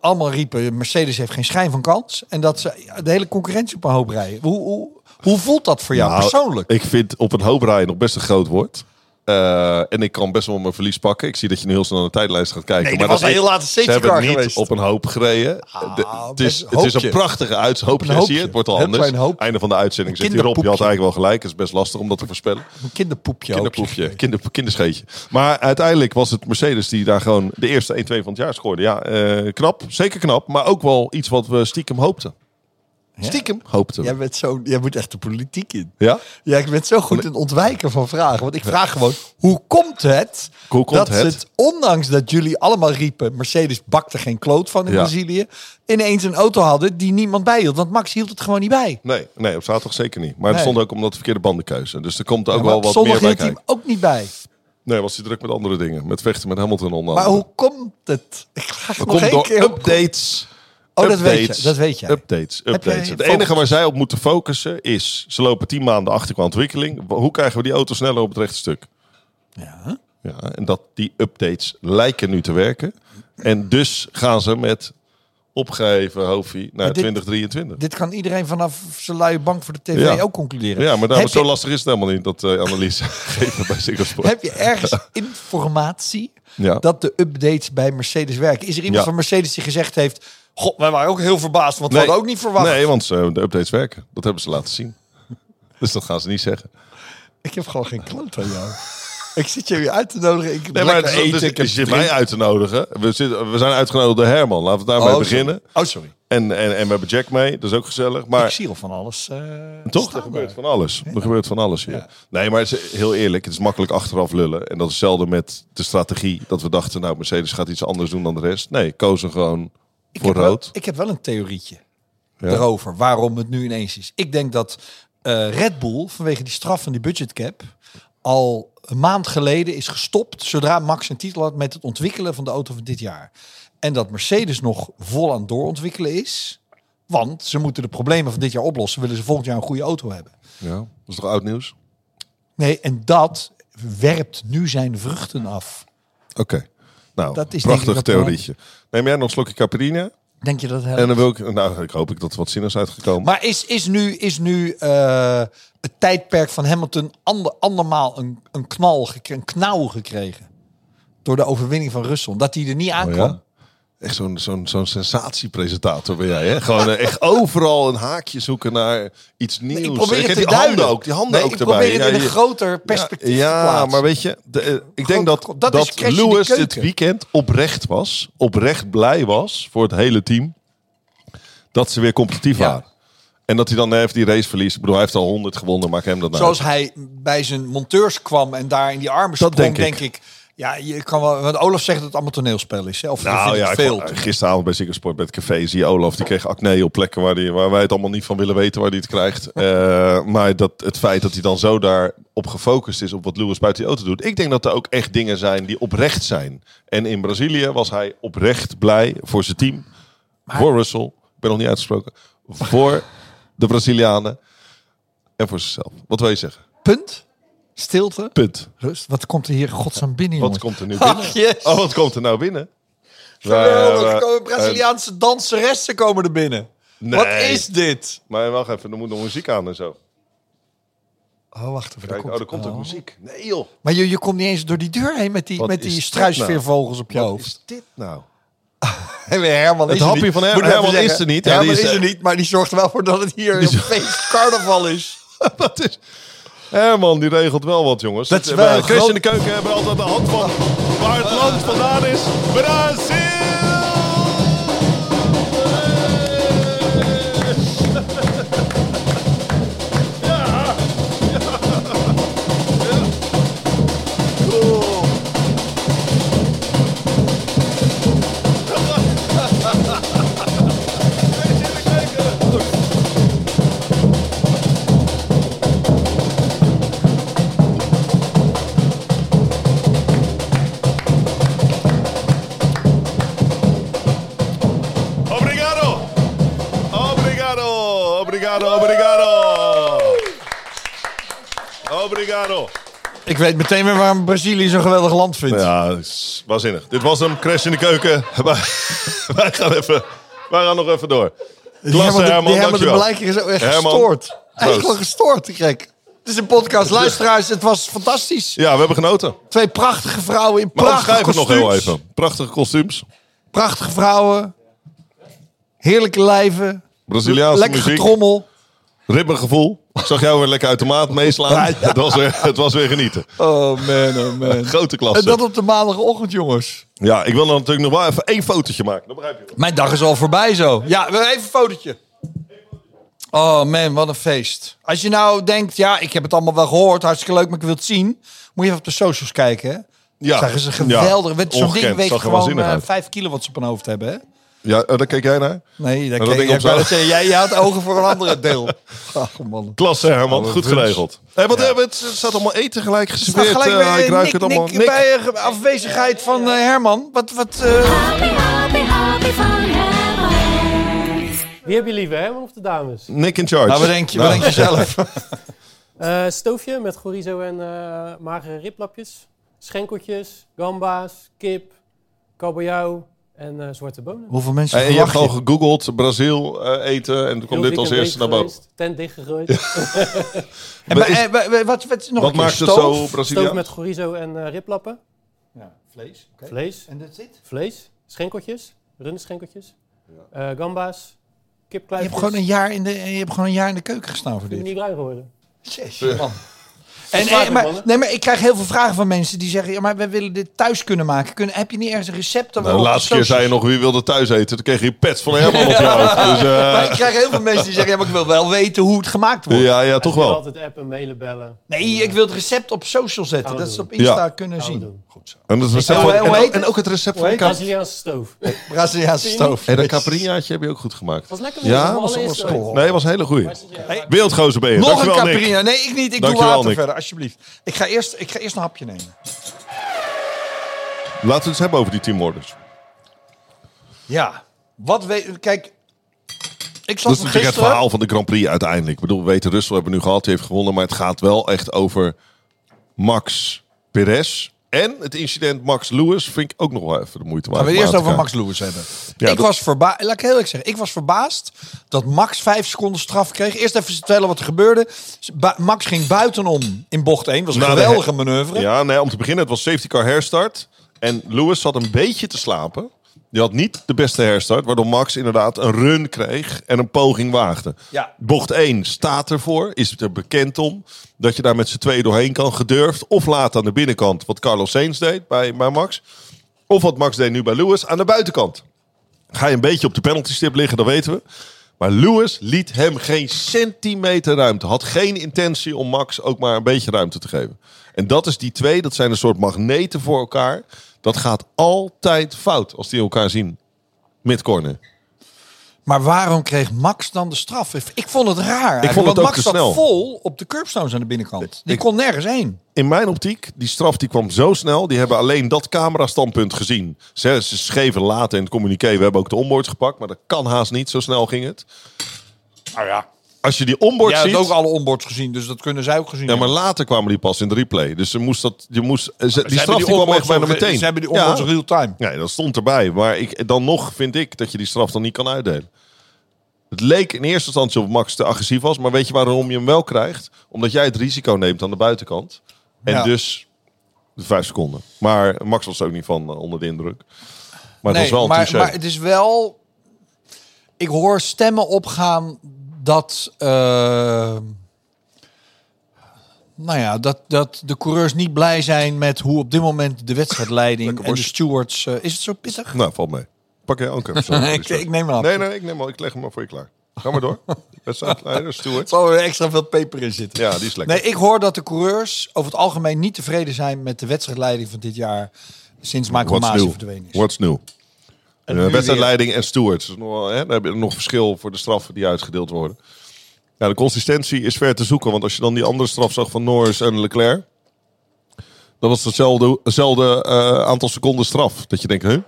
[SPEAKER 2] allemaal riepen, Mercedes heeft geen schijn van kans. En dat ze de hele concurrentie op een hoop rijden. Hoe, hoe, hoe voelt dat voor jou
[SPEAKER 3] Nou,
[SPEAKER 2] persoonlijk?
[SPEAKER 3] Ik vind op een hoop rijden nog best een groot woord. Eh, en ik kan best wel mijn verlies pakken. Ik zie dat je nu heel snel naar de tijdlijst gaat kijken.
[SPEAKER 2] Nee, er
[SPEAKER 3] maar
[SPEAKER 2] was
[SPEAKER 3] dat
[SPEAKER 2] een
[SPEAKER 3] is-
[SPEAKER 2] heel late safety
[SPEAKER 3] Ze hebben het
[SPEAKER 2] car
[SPEAKER 3] niet
[SPEAKER 2] geweest.
[SPEAKER 3] op een hoop gereden. De-
[SPEAKER 2] Ah,
[SPEAKER 3] het,
[SPEAKER 2] best
[SPEAKER 3] is,
[SPEAKER 2] een
[SPEAKER 3] het is
[SPEAKER 2] hoopje.
[SPEAKER 3] een prachtige uit, hoopje.
[SPEAKER 2] Een
[SPEAKER 3] Zie je,
[SPEAKER 2] hoopje.
[SPEAKER 3] het wordt al
[SPEAKER 2] Heel
[SPEAKER 3] anders.
[SPEAKER 2] klein hoop.
[SPEAKER 3] Einde van de uitzending
[SPEAKER 2] Een
[SPEAKER 3] zegt hij Rob, je had
[SPEAKER 2] kinderpoepje.
[SPEAKER 3] eigenlijk wel gelijk. Het is best lastig om dat te voorspellen.
[SPEAKER 2] Een kinderpoepje. hoop je.
[SPEAKER 3] Kinderpoepje, kinder, kinderscheetje. Maar uiteindelijk was het Mercedes die daar gewoon de eerste 1-2 van het jaar scoorde. Ja, eh, knap. Zeker knap. Maar ook wel iets wat we stiekem hoopten. Stiekem hoopten we.
[SPEAKER 2] Jij, bent zo, jij moet echt de politiek in.
[SPEAKER 3] Ja?
[SPEAKER 2] Ja, ik ben zo goed in ontwijken van vragen. Want ik vraag gewoon, hoe komt het
[SPEAKER 3] Hoe komt
[SPEAKER 2] dat
[SPEAKER 3] het?
[SPEAKER 2] ondanks dat jullie allemaal riepen... Mercedes bakte geen kloot van in
[SPEAKER 3] Ja.
[SPEAKER 2] Brazilië... ineens een auto hadden die niemand bijhield. Want Max hield het gewoon niet bij.
[SPEAKER 3] Nee, nee, op zaterdag zeker niet. Maar het
[SPEAKER 2] Nee.
[SPEAKER 3] stond ook omdat verkeerde bandenkeuze. Dus er komt ook
[SPEAKER 2] Maar
[SPEAKER 3] wel
[SPEAKER 2] op
[SPEAKER 3] wat
[SPEAKER 2] zondag
[SPEAKER 3] meer bij
[SPEAKER 2] hield hij hem
[SPEAKER 3] kijken.
[SPEAKER 2] ook niet bij.
[SPEAKER 3] Nee, was hij druk met andere dingen. Met vechten met Hamilton onder
[SPEAKER 2] Maar
[SPEAKER 3] andere.
[SPEAKER 2] hoe komt het? Ik vraag
[SPEAKER 3] Dat
[SPEAKER 2] nog
[SPEAKER 3] komt
[SPEAKER 2] één
[SPEAKER 3] door
[SPEAKER 2] keer. hoe komt-
[SPEAKER 3] updates.
[SPEAKER 2] Oh, dat
[SPEAKER 3] updates,
[SPEAKER 2] weet je. Dat weet je.
[SPEAKER 3] Updates,
[SPEAKER 2] jij
[SPEAKER 3] updates. Het
[SPEAKER 2] focus?
[SPEAKER 3] enige waar zij op moeten focussen is... ze lopen tien maanden achter qua ontwikkeling. Hoe krijgen we die auto sneller op het rechte stuk?
[SPEAKER 2] Ja.
[SPEAKER 3] Ja, en dat die updates lijken nu te werken. En dus gaan ze met opgeheven hoofdje naar
[SPEAKER 2] dit-
[SPEAKER 3] 2023.
[SPEAKER 2] Dit kan iedereen vanaf zijn luie bank voor de tv
[SPEAKER 3] Ja.
[SPEAKER 2] ook concluderen.
[SPEAKER 3] ja, maar
[SPEAKER 2] Heb
[SPEAKER 3] daarom zo
[SPEAKER 2] je-
[SPEAKER 3] lastig is het helemaal niet... dat eh, analyse <laughs> geven bij Ziggo Sport.
[SPEAKER 2] Heb je ergens informatie
[SPEAKER 3] Ja.
[SPEAKER 2] dat de updates bij Mercedes werken? Is er iemand
[SPEAKER 3] Ja.
[SPEAKER 2] van Mercedes die gezegd heeft... God, wij waren ook heel verbaasd, want we
[SPEAKER 3] Nee.
[SPEAKER 2] hadden ook niet verwacht.
[SPEAKER 3] Nee, want eh, de updates werken. Dat hebben ze laten zien. <laughs> Dus dat gaan ze niet zeggen.
[SPEAKER 2] Ik heb gewoon geen kloot aan jou. ik zit je weer uit te nodigen. Ik heb
[SPEAKER 3] Nee, maar
[SPEAKER 2] lekker
[SPEAKER 3] het is,
[SPEAKER 2] eten.
[SPEAKER 3] dus,
[SPEAKER 2] ik heb
[SPEAKER 3] je zit
[SPEAKER 2] drink-
[SPEAKER 3] mij uit te nodigen. We, zitten, we zijn uitgenodigd door Herman. Laten we daarmee
[SPEAKER 2] Oh,
[SPEAKER 3] beginnen.
[SPEAKER 2] sorry. Oh, sorry.
[SPEAKER 3] En, en, en we hebben Jack mee. Dat is ook gezellig.
[SPEAKER 2] ik
[SPEAKER 3] Maar
[SPEAKER 2] zie al van alles. eh,
[SPEAKER 3] toch,
[SPEAKER 2] staan
[SPEAKER 3] er gebeurt
[SPEAKER 2] daar.
[SPEAKER 3] van alles. Er gebeurt van alles hier. Nee, maar het is heel eerlijk. Het is makkelijk achteraf lullen. En dat is zelden met de strategie. Dat we dachten, nou, Mercedes gaat iets anders doen dan de rest. Nee, kozen gewoon
[SPEAKER 2] Ik
[SPEAKER 3] voor
[SPEAKER 2] heb wel-
[SPEAKER 3] rood.
[SPEAKER 2] ik heb wel een theorietje
[SPEAKER 3] Ja.
[SPEAKER 2] daarover, waarom het nu ineens is. Ik denk dat eh, Red Bull, vanwege die straf van die budgetcap, al een maand geleden is gestopt, zodra Max een titel had, met het ontwikkelen van de auto van dit jaar. En dat Mercedes nog vol aan het doorontwikkelen is, want ze moeten de problemen van dit jaar oplossen, willen ze volgend jaar een goede auto hebben.
[SPEAKER 3] Ja, dat is toch oud nieuws?
[SPEAKER 2] Nee, en dat werpt nu zijn vruchten af.
[SPEAKER 3] Oké. Nou,
[SPEAKER 2] Dat is denk ik
[SPEAKER 3] prachtig
[SPEAKER 2] wat we
[SPEAKER 3] theorietje. Neem jij nog een slokje caperina?
[SPEAKER 2] Denk je dat het helpt?
[SPEAKER 3] En dan wil ik... Nou, ik hoop ik dat er wat zin is uitgekomen.
[SPEAKER 2] Maar is, is nu, is nu eh, het tijdperk van Hamilton ander, andermaal een, een knal, gek- een knauw gekregen? Door de overwinning van Russell. Dat hij er niet
[SPEAKER 3] Oh
[SPEAKER 2] aankwam.
[SPEAKER 3] ja? Echt zo'n zo'n zo'n sensatiepresentator ben jij, hè? Gewoon eh, echt overal een haakje zoeken naar iets nieuws.
[SPEAKER 2] Ik probeer
[SPEAKER 3] heb
[SPEAKER 2] het te
[SPEAKER 3] die
[SPEAKER 2] duiden.
[SPEAKER 3] handen ook, die handen
[SPEAKER 2] Nee,
[SPEAKER 3] ook
[SPEAKER 2] ik
[SPEAKER 3] erbij.
[SPEAKER 2] probeer het in een
[SPEAKER 3] je-
[SPEAKER 2] groter perspectief
[SPEAKER 3] ja,
[SPEAKER 2] te plaatsen.
[SPEAKER 3] maar weet je, de, eh, ik denk dat,
[SPEAKER 2] Groot-
[SPEAKER 3] dat,
[SPEAKER 2] dat is Crash in de
[SPEAKER 3] Lewis
[SPEAKER 2] Keuken.
[SPEAKER 3] dit weekend oprecht was. Oprecht blij was voor het hele team. Dat ze weer competitief
[SPEAKER 2] Ja.
[SPEAKER 3] waren. En dat hij dan even die race verliest. Ik bedoel, hij heeft al 100 gewonnen, maak hem dat nou.
[SPEAKER 2] Zoals hij bij zijn monteurs kwam en daar in die armen
[SPEAKER 3] Dat
[SPEAKER 2] sprong,
[SPEAKER 3] denk
[SPEAKER 2] denk,
[SPEAKER 3] ik.
[SPEAKER 2] ik. Ja, je kan wel, want Olaf zegt dat het allemaal toneelspel is. Hè? Of dat
[SPEAKER 3] Nou
[SPEAKER 2] vind ik
[SPEAKER 3] ja, ik
[SPEAKER 2] veel.
[SPEAKER 3] vond- gisteravond bij Ziggo Sport bij het café zie je Olaf. Die kreeg acne op plekken waar, die, waar wij het allemaal niet van willen weten waar hij het
[SPEAKER 2] <laughs>
[SPEAKER 3] krijgt. Eh, maar dat, het feit dat hij dan zo daarop gefocust is op wat Lewis buiten die auto doet. Ik denk dat er ook echt dingen zijn die oprecht zijn. En in Brazilië was hij oprecht blij voor zijn team. voor Russell. Ik ben nog niet uitgesproken. Voor de Brazilianen. En voor zichzelf. Wat wil je zeggen?
[SPEAKER 2] Punt. Stilte.
[SPEAKER 3] Punt.
[SPEAKER 2] Rust. Wat komt er hier godsnaam binnen,
[SPEAKER 3] Wat
[SPEAKER 2] jongens?
[SPEAKER 3] komt er nu
[SPEAKER 2] Ach,
[SPEAKER 3] binnen?
[SPEAKER 2] yes.
[SPEAKER 3] Oh, wat komt er nou binnen?
[SPEAKER 2] Geweldig.
[SPEAKER 3] Eh,
[SPEAKER 2] er komen
[SPEAKER 3] eh,
[SPEAKER 2] Braziliaanse danseressen komen er binnen.
[SPEAKER 3] Nee.
[SPEAKER 2] Wat is dit?
[SPEAKER 3] Maar wacht even, er moet nog muziek aan en zo.
[SPEAKER 2] Oh, wacht even.
[SPEAKER 3] Kijk, oh, er komt ook
[SPEAKER 2] oh.
[SPEAKER 3] muziek. Nee joh.
[SPEAKER 2] Maar je, je komt niet eens door die deur heen met die,
[SPEAKER 3] Wat
[SPEAKER 2] met
[SPEAKER 3] is
[SPEAKER 2] die
[SPEAKER 3] dit
[SPEAKER 2] struisveervogels op je
[SPEAKER 3] Wat
[SPEAKER 2] hoofd.
[SPEAKER 3] is dit nou?
[SPEAKER 2] En weer Herman
[SPEAKER 3] Het
[SPEAKER 2] is er
[SPEAKER 3] hapje
[SPEAKER 2] niet.
[SPEAKER 3] van Her-
[SPEAKER 2] Moet ik even
[SPEAKER 3] Herman is
[SPEAKER 2] zeggen.
[SPEAKER 3] er niet. Ja,
[SPEAKER 2] Herman
[SPEAKER 3] die
[SPEAKER 2] is,
[SPEAKER 3] is,
[SPEAKER 2] er
[SPEAKER 3] eh,
[SPEAKER 2] niet, maar die zorgt er wel voor dat het hier een
[SPEAKER 3] zo-
[SPEAKER 2] feest carnaval is.
[SPEAKER 3] <laughs> Wat is... Herman, die regelt wel wat jongens.
[SPEAKER 2] Dat is
[SPEAKER 3] Eh,
[SPEAKER 2] wel
[SPEAKER 3] bij
[SPEAKER 2] een
[SPEAKER 3] Chris
[SPEAKER 2] groot-
[SPEAKER 3] in de keuken hebben we altijd de hand van waar het land vandaan is. Brazil! <laughs> Obrigado! Obrigado! Obrigado, obrigado! Obrigado!
[SPEAKER 2] Ik weet meteen weer waarom Brazilië zo'n geweldig land vindt.
[SPEAKER 3] Ja, dat is waanzinnig. Dit was hem, Crash in de Keuken. <laughs> wij, wij gaan even, wij gaan nog even door.
[SPEAKER 2] Die
[SPEAKER 3] Klasse,
[SPEAKER 2] de-
[SPEAKER 3] Herman,
[SPEAKER 2] die Herman de
[SPEAKER 3] dankjewel.
[SPEAKER 2] Blijker is ook echt
[SPEAKER 3] Herman,
[SPEAKER 2] gestoord. Hij is
[SPEAKER 3] proost.
[SPEAKER 2] gewoon gestoord, gek. Het is een podcast, luisteraars. Het was fantastisch.
[SPEAKER 3] Ja, we hebben genoten.
[SPEAKER 2] Twee prachtige vrouwen in
[SPEAKER 3] Maar
[SPEAKER 2] prachtige
[SPEAKER 3] omschrijf het nog heel
[SPEAKER 2] kostuums.
[SPEAKER 3] even. Prachtige kostuums.
[SPEAKER 2] Prachtige vrouwen. Heerlijke lijven.
[SPEAKER 3] Braziliaanse
[SPEAKER 2] Lekker
[SPEAKER 3] muziek.
[SPEAKER 2] getrommel.
[SPEAKER 3] Ribbengevoel. Ik zag jou weer lekker uit de maat meeslaan.
[SPEAKER 2] <laughs> Ja, ja.
[SPEAKER 3] Het, was weer, het was weer genieten.
[SPEAKER 2] Oh man, oh <laughs> man.
[SPEAKER 3] Grote klasse.
[SPEAKER 2] En dat op de maandagochtend, jongens.
[SPEAKER 3] Ja, ik wil dan natuurlijk nog wel even één fotootje maken. Dat begrijp je wel.
[SPEAKER 2] Mijn dag is al voorbij zo. Ja, we- even een fotootje. Oh man, wat een feest. Als je nou denkt, ja, ik heb het allemaal wel gehoord, hartstikke leuk, maar ik wil het zien. Moet je even op de socials kijken. Hè?
[SPEAKER 3] Ja.
[SPEAKER 2] Zagen ze
[SPEAKER 3] Ja,
[SPEAKER 2] geweldig. Weet je, Zo'n
[SPEAKER 3] ongekend.
[SPEAKER 2] ding weegt
[SPEAKER 3] Zag er
[SPEAKER 2] gewoon
[SPEAKER 3] waanzinnig
[SPEAKER 2] eh,
[SPEAKER 3] uit.
[SPEAKER 2] vijf kilo wat ze op hun hoofd hebben. Hè?
[SPEAKER 3] Ja, eh, daar keek jij naar.
[SPEAKER 2] Nee, dat
[SPEAKER 3] dat
[SPEAKER 2] kan
[SPEAKER 3] ding
[SPEAKER 2] je
[SPEAKER 3] op zo'n-
[SPEAKER 2] <laughs> zeggen. Jij, jij had ogen voor een andere
[SPEAKER 3] <laughs>
[SPEAKER 2] deel. Ach man.
[SPEAKER 3] Klasse, Herman.
[SPEAKER 2] Alle
[SPEAKER 3] Goed
[SPEAKER 2] runs.
[SPEAKER 3] geregeld. Hey, wat hebben we? Het staat allemaal eten gelijk
[SPEAKER 2] Het staat
[SPEAKER 3] gesmeerd.
[SPEAKER 2] gelijk
[SPEAKER 3] eh,
[SPEAKER 2] weer
[SPEAKER 3] ik ruik
[SPEAKER 2] Nick,
[SPEAKER 3] het allemaal.
[SPEAKER 2] Nick,
[SPEAKER 3] Nick.
[SPEAKER 2] bij eh, afwezigheid van eh, Herman. Wat, wat, eh,
[SPEAKER 4] Happy, happy, happy fun, have a
[SPEAKER 5] Wie heb je liever, Herman of de dames?
[SPEAKER 3] Nick in charge.
[SPEAKER 2] nou, wat denk je, wat denk je zelf?
[SPEAKER 5] Eh, stoofje met chorizo en eh, magere riplapjes. Schenkeltjes, gamba's, kip, kabeljauw en eh, zwarte bonen.
[SPEAKER 2] <laughs> Hoeveel mensen
[SPEAKER 3] Hey, en Eh, je hebt
[SPEAKER 2] verwacht
[SPEAKER 3] gewoon
[SPEAKER 2] je?
[SPEAKER 3] gegoogeld Brazil eh, eten en toen
[SPEAKER 5] Heel
[SPEAKER 3] kwam dit als
[SPEAKER 5] weekend
[SPEAKER 3] eerste naar boven.
[SPEAKER 5] geweest, Tent dichtgegooid.
[SPEAKER 2] En bij-
[SPEAKER 3] Is-
[SPEAKER 2] eh, bij- bij- wat, wat, nog
[SPEAKER 3] Wat
[SPEAKER 2] een keer,
[SPEAKER 3] maakt het
[SPEAKER 2] stoof?
[SPEAKER 3] zo
[SPEAKER 5] Stoof
[SPEAKER 3] Braziliaans?
[SPEAKER 5] met chorizo en eh, riplappen.
[SPEAKER 2] Ja, vlees. oké.
[SPEAKER 5] Vlees,
[SPEAKER 2] En dat zit?
[SPEAKER 5] vlees, schenkeltjes, runderschenkeltjes, eh, gamba's,
[SPEAKER 2] Je hebt
[SPEAKER 5] kipkluifjes.
[SPEAKER 2] gewoon een jaar in de, je hebt gewoon een jaar in de keuken gestaan voor
[SPEAKER 5] Ik ben
[SPEAKER 2] dit.
[SPEAKER 5] niet bruin geworden.
[SPEAKER 2] Jezus, man. En,
[SPEAKER 5] Vragen,
[SPEAKER 2] en- maar,
[SPEAKER 5] mannen.
[SPEAKER 2] nee, maar ik krijg heel veel vragen van mensen die zeggen: ja, maar we willen dit thuis kunnen maken. Kunnen, heb je niet ergens een recept?
[SPEAKER 3] Nou, de laatste keer zei je nog wie wilde thuis eten. Toen kreeg je pets van Herman op je
[SPEAKER 5] <laughs>
[SPEAKER 3] hoofd. Dus, eh,
[SPEAKER 2] Maar ik krijg heel veel mensen die zeggen: ja, maar ik wil wel weten hoe het gemaakt wordt.
[SPEAKER 3] ja, ja, toch wel.
[SPEAKER 5] Altijd appen, mailen, bellen.
[SPEAKER 2] Nee, ik wil het recept op social zetten.
[SPEAKER 5] Gaan we
[SPEAKER 2] Dat ze op
[SPEAKER 5] doen.
[SPEAKER 2] Insta
[SPEAKER 3] Ja.
[SPEAKER 2] kunnen
[SPEAKER 5] Gaan we
[SPEAKER 2] zien.
[SPEAKER 5] doen.
[SPEAKER 2] Goed zo.
[SPEAKER 3] En, het recept
[SPEAKER 2] Ja,
[SPEAKER 3] van,
[SPEAKER 2] hoe
[SPEAKER 3] en,
[SPEAKER 2] heet
[SPEAKER 3] ook, en
[SPEAKER 2] het?
[SPEAKER 3] ook het recept
[SPEAKER 2] Hoe
[SPEAKER 3] van de
[SPEAKER 2] heet
[SPEAKER 3] kap-
[SPEAKER 5] Braziliaanse stoof.
[SPEAKER 2] Braziliaanse stoof.
[SPEAKER 3] En dat caprinaatje heb je ook goed gemaakt.
[SPEAKER 5] was lekker, man.
[SPEAKER 3] Ja,
[SPEAKER 5] Dat was
[SPEAKER 3] was,
[SPEAKER 5] allereerst
[SPEAKER 3] was
[SPEAKER 5] ooit.
[SPEAKER 3] goed. Nee, was een hele goeie.
[SPEAKER 5] Hey.
[SPEAKER 3] Wereldgozer ben je.
[SPEAKER 2] Nog een
[SPEAKER 3] Dankjewel, Nick.
[SPEAKER 2] caprina. Nee, ik niet. Ik
[SPEAKER 3] Dankjewel,
[SPEAKER 2] doe later
[SPEAKER 3] Nick.
[SPEAKER 2] verder, alsjeblieft. Ik ga, eerst, ik ga eerst een hapje nemen.
[SPEAKER 3] Laten we het eens hebben over die teamorders.
[SPEAKER 2] Ja. Wat weet... Kijk, ik
[SPEAKER 3] Dat
[SPEAKER 2] zat
[SPEAKER 3] is
[SPEAKER 2] hem
[SPEAKER 3] natuurlijk het
[SPEAKER 2] gisteren...
[SPEAKER 3] verhaal van de Grand Prix uiteindelijk. Ik bedoel, we weten Russell hebben we nu gehad, die heeft gewonnen. Maar het gaat wel echt over Max Perez. En het incident Max Lewis vind ik ook nog wel even de moeite waard.
[SPEAKER 2] Gaan we het
[SPEAKER 3] om
[SPEAKER 2] eerst
[SPEAKER 3] aan te
[SPEAKER 2] over Max
[SPEAKER 3] kijken.
[SPEAKER 2] Lewis hebben.
[SPEAKER 3] Ja,
[SPEAKER 2] ik
[SPEAKER 3] dat-
[SPEAKER 2] was verbaasd, laat ik heel eerlijk zeggen, ik was verbaasd dat Max vijf seconden straf kreeg. Eerst even vertellen wat er gebeurde. Ba- Max ging buitenom in bocht 1. was een
[SPEAKER 3] Na de
[SPEAKER 2] geweldige
[SPEAKER 3] he-
[SPEAKER 2] manoeuvre.
[SPEAKER 3] Ja, nee, om te beginnen, het was safety car herstart. En Lewis zat een beetje te slapen. Die had niet de beste herstart, waardoor Max inderdaad een run kreeg en een poging waagde.
[SPEAKER 2] Ja.
[SPEAKER 3] Bocht 1 staat ervoor, is er bekend om dat je daar met z'n tweeën doorheen kan, gedurfd. Of laat aan de binnenkant, wat Carlos Sainz deed bij, bij Max. Of wat Max deed nu bij Lewis, aan de buitenkant. Ga je een beetje op de penalty stip liggen, dat weten we. Maar Lewis liet hem geen centimeter ruimte. Had geen intentie om Max ook maar een beetje ruimte te geven. En dat is die twee, dat zijn een soort magneten voor elkaar. Dat gaat altijd fout als die elkaar zien. Midcorner.
[SPEAKER 2] Maar waarom kreeg Max dan de straf? Ik vond het raar. eigenlijk,
[SPEAKER 3] vond het
[SPEAKER 2] want
[SPEAKER 3] ook
[SPEAKER 2] Max
[SPEAKER 3] te
[SPEAKER 2] zat
[SPEAKER 3] snel.
[SPEAKER 2] vol op de curbstones aan de binnenkant. Die
[SPEAKER 3] Ik-
[SPEAKER 2] kon nergens heen.
[SPEAKER 3] In mijn optiek, die straf die kwam zo snel. Die hebben alleen dat camerastandpunt gezien. Ze, ze schreven later in het communiqué. We hebben ook de onboard gepakt. Maar dat kan haast niet. Zo snel ging het.
[SPEAKER 2] Nou ja.
[SPEAKER 3] Als je die onboard
[SPEAKER 2] Jij
[SPEAKER 3] ziet...
[SPEAKER 2] hebt ook alle onboards gezien, dus dat kunnen zij ook gezien
[SPEAKER 3] Ja, maar
[SPEAKER 2] hebben.
[SPEAKER 3] later kwamen die pas in de replay. Dus ze moest dat, je moest, eh, ze- die
[SPEAKER 2] Ze
[SPEAKER 3] straf
[SPEAKER 2] hebben
[SPEAKER 3] die kwam echt
[SPEAKER 2] onboards
[SPEAKER 3] bijna
[SPEAKER 2] ook-
[SPEAKER 3] meteen.
[SPEAKER 2] Ze hebben die onboards
[SPEAKER 3] ja.
[SPEAKER 2] real time.
[SPEAKER 3] Nee, dat stond erbij. Maar ik, dan nog vind ik dat je die straf dan niet kan uitdelen. Het leek in eerste instantie op Max te agressief was. Maar weet je waarom je hem wel krijgt? Omdat jij het risico neemt aan de buitenkant. En
[SPEAKER 2] Ja.
[SPEAKER 3] dus de vijf seconden. Maar Max was er ook niet van eh, onder de indruk. Maar het
[SPEAKER 2] nee,
[SPEAKER 3] was wel een
[SPEAKER 2] maar,
[SPEAKER 3] touché.
[SPEAKER 2] maar het is wel... Ik hoor stemmen opgaan dat... eh, nou ja, dat, dat de coureurs niet blij zijn met hoe op dit moment de wedstrijdleiding en de
[SPEAKER 3] worst.
[SPEAKER 2] stewards... eh, is het zo pittig?
[SPEAKER 3] Nou, valt mee. Pak jij ook even
[SPEAKER 2] <laughs>
[SPEAKER 3] zo.
[SPEAKER 2] ik, ik neem maar af.
[SPEAKER 3] Nee, nee, ik neem al. Ik leg hem maar voor je klaar. Ga maar
[SPEAKER 2] <laughs>
[SPEAKER 3] door. Wedstrijdleider, Stuart.
[SPEAKER 2] zal er extra veel peper in zitten.
[SPEAKER 3] Ja, die is lekker.
[SPEAKER 2] Nee, ik hoor dat de coureurs over het algemeen niet tevreden zijn met de wedstrijdleiding van dit jaar. Sinds Michael
[SPEAKER 3] What's
[SPEAKER 2] Masi
[SPEAKER 3] new?
[SPEAKER 2] verdwenen is.
[SPEAKER 3] What's new?
[SPEAKER 2] nu
[SPEAKER 3] Eh
[SPEAKER 2] weer.
[SPEAKER 3] wedstrijdleiding en stewards. Dus nog wel, hè, dan heb je nog verschil voor de straffen die uitgedeeld worden. Ja, de consistentie is ver te zoeken. Want als je dan die andere straf zag van Norris en Leclerc. Dat was hetzelfde, hetzelfde eh, aantal seconden straf. Dat je denkt, huh?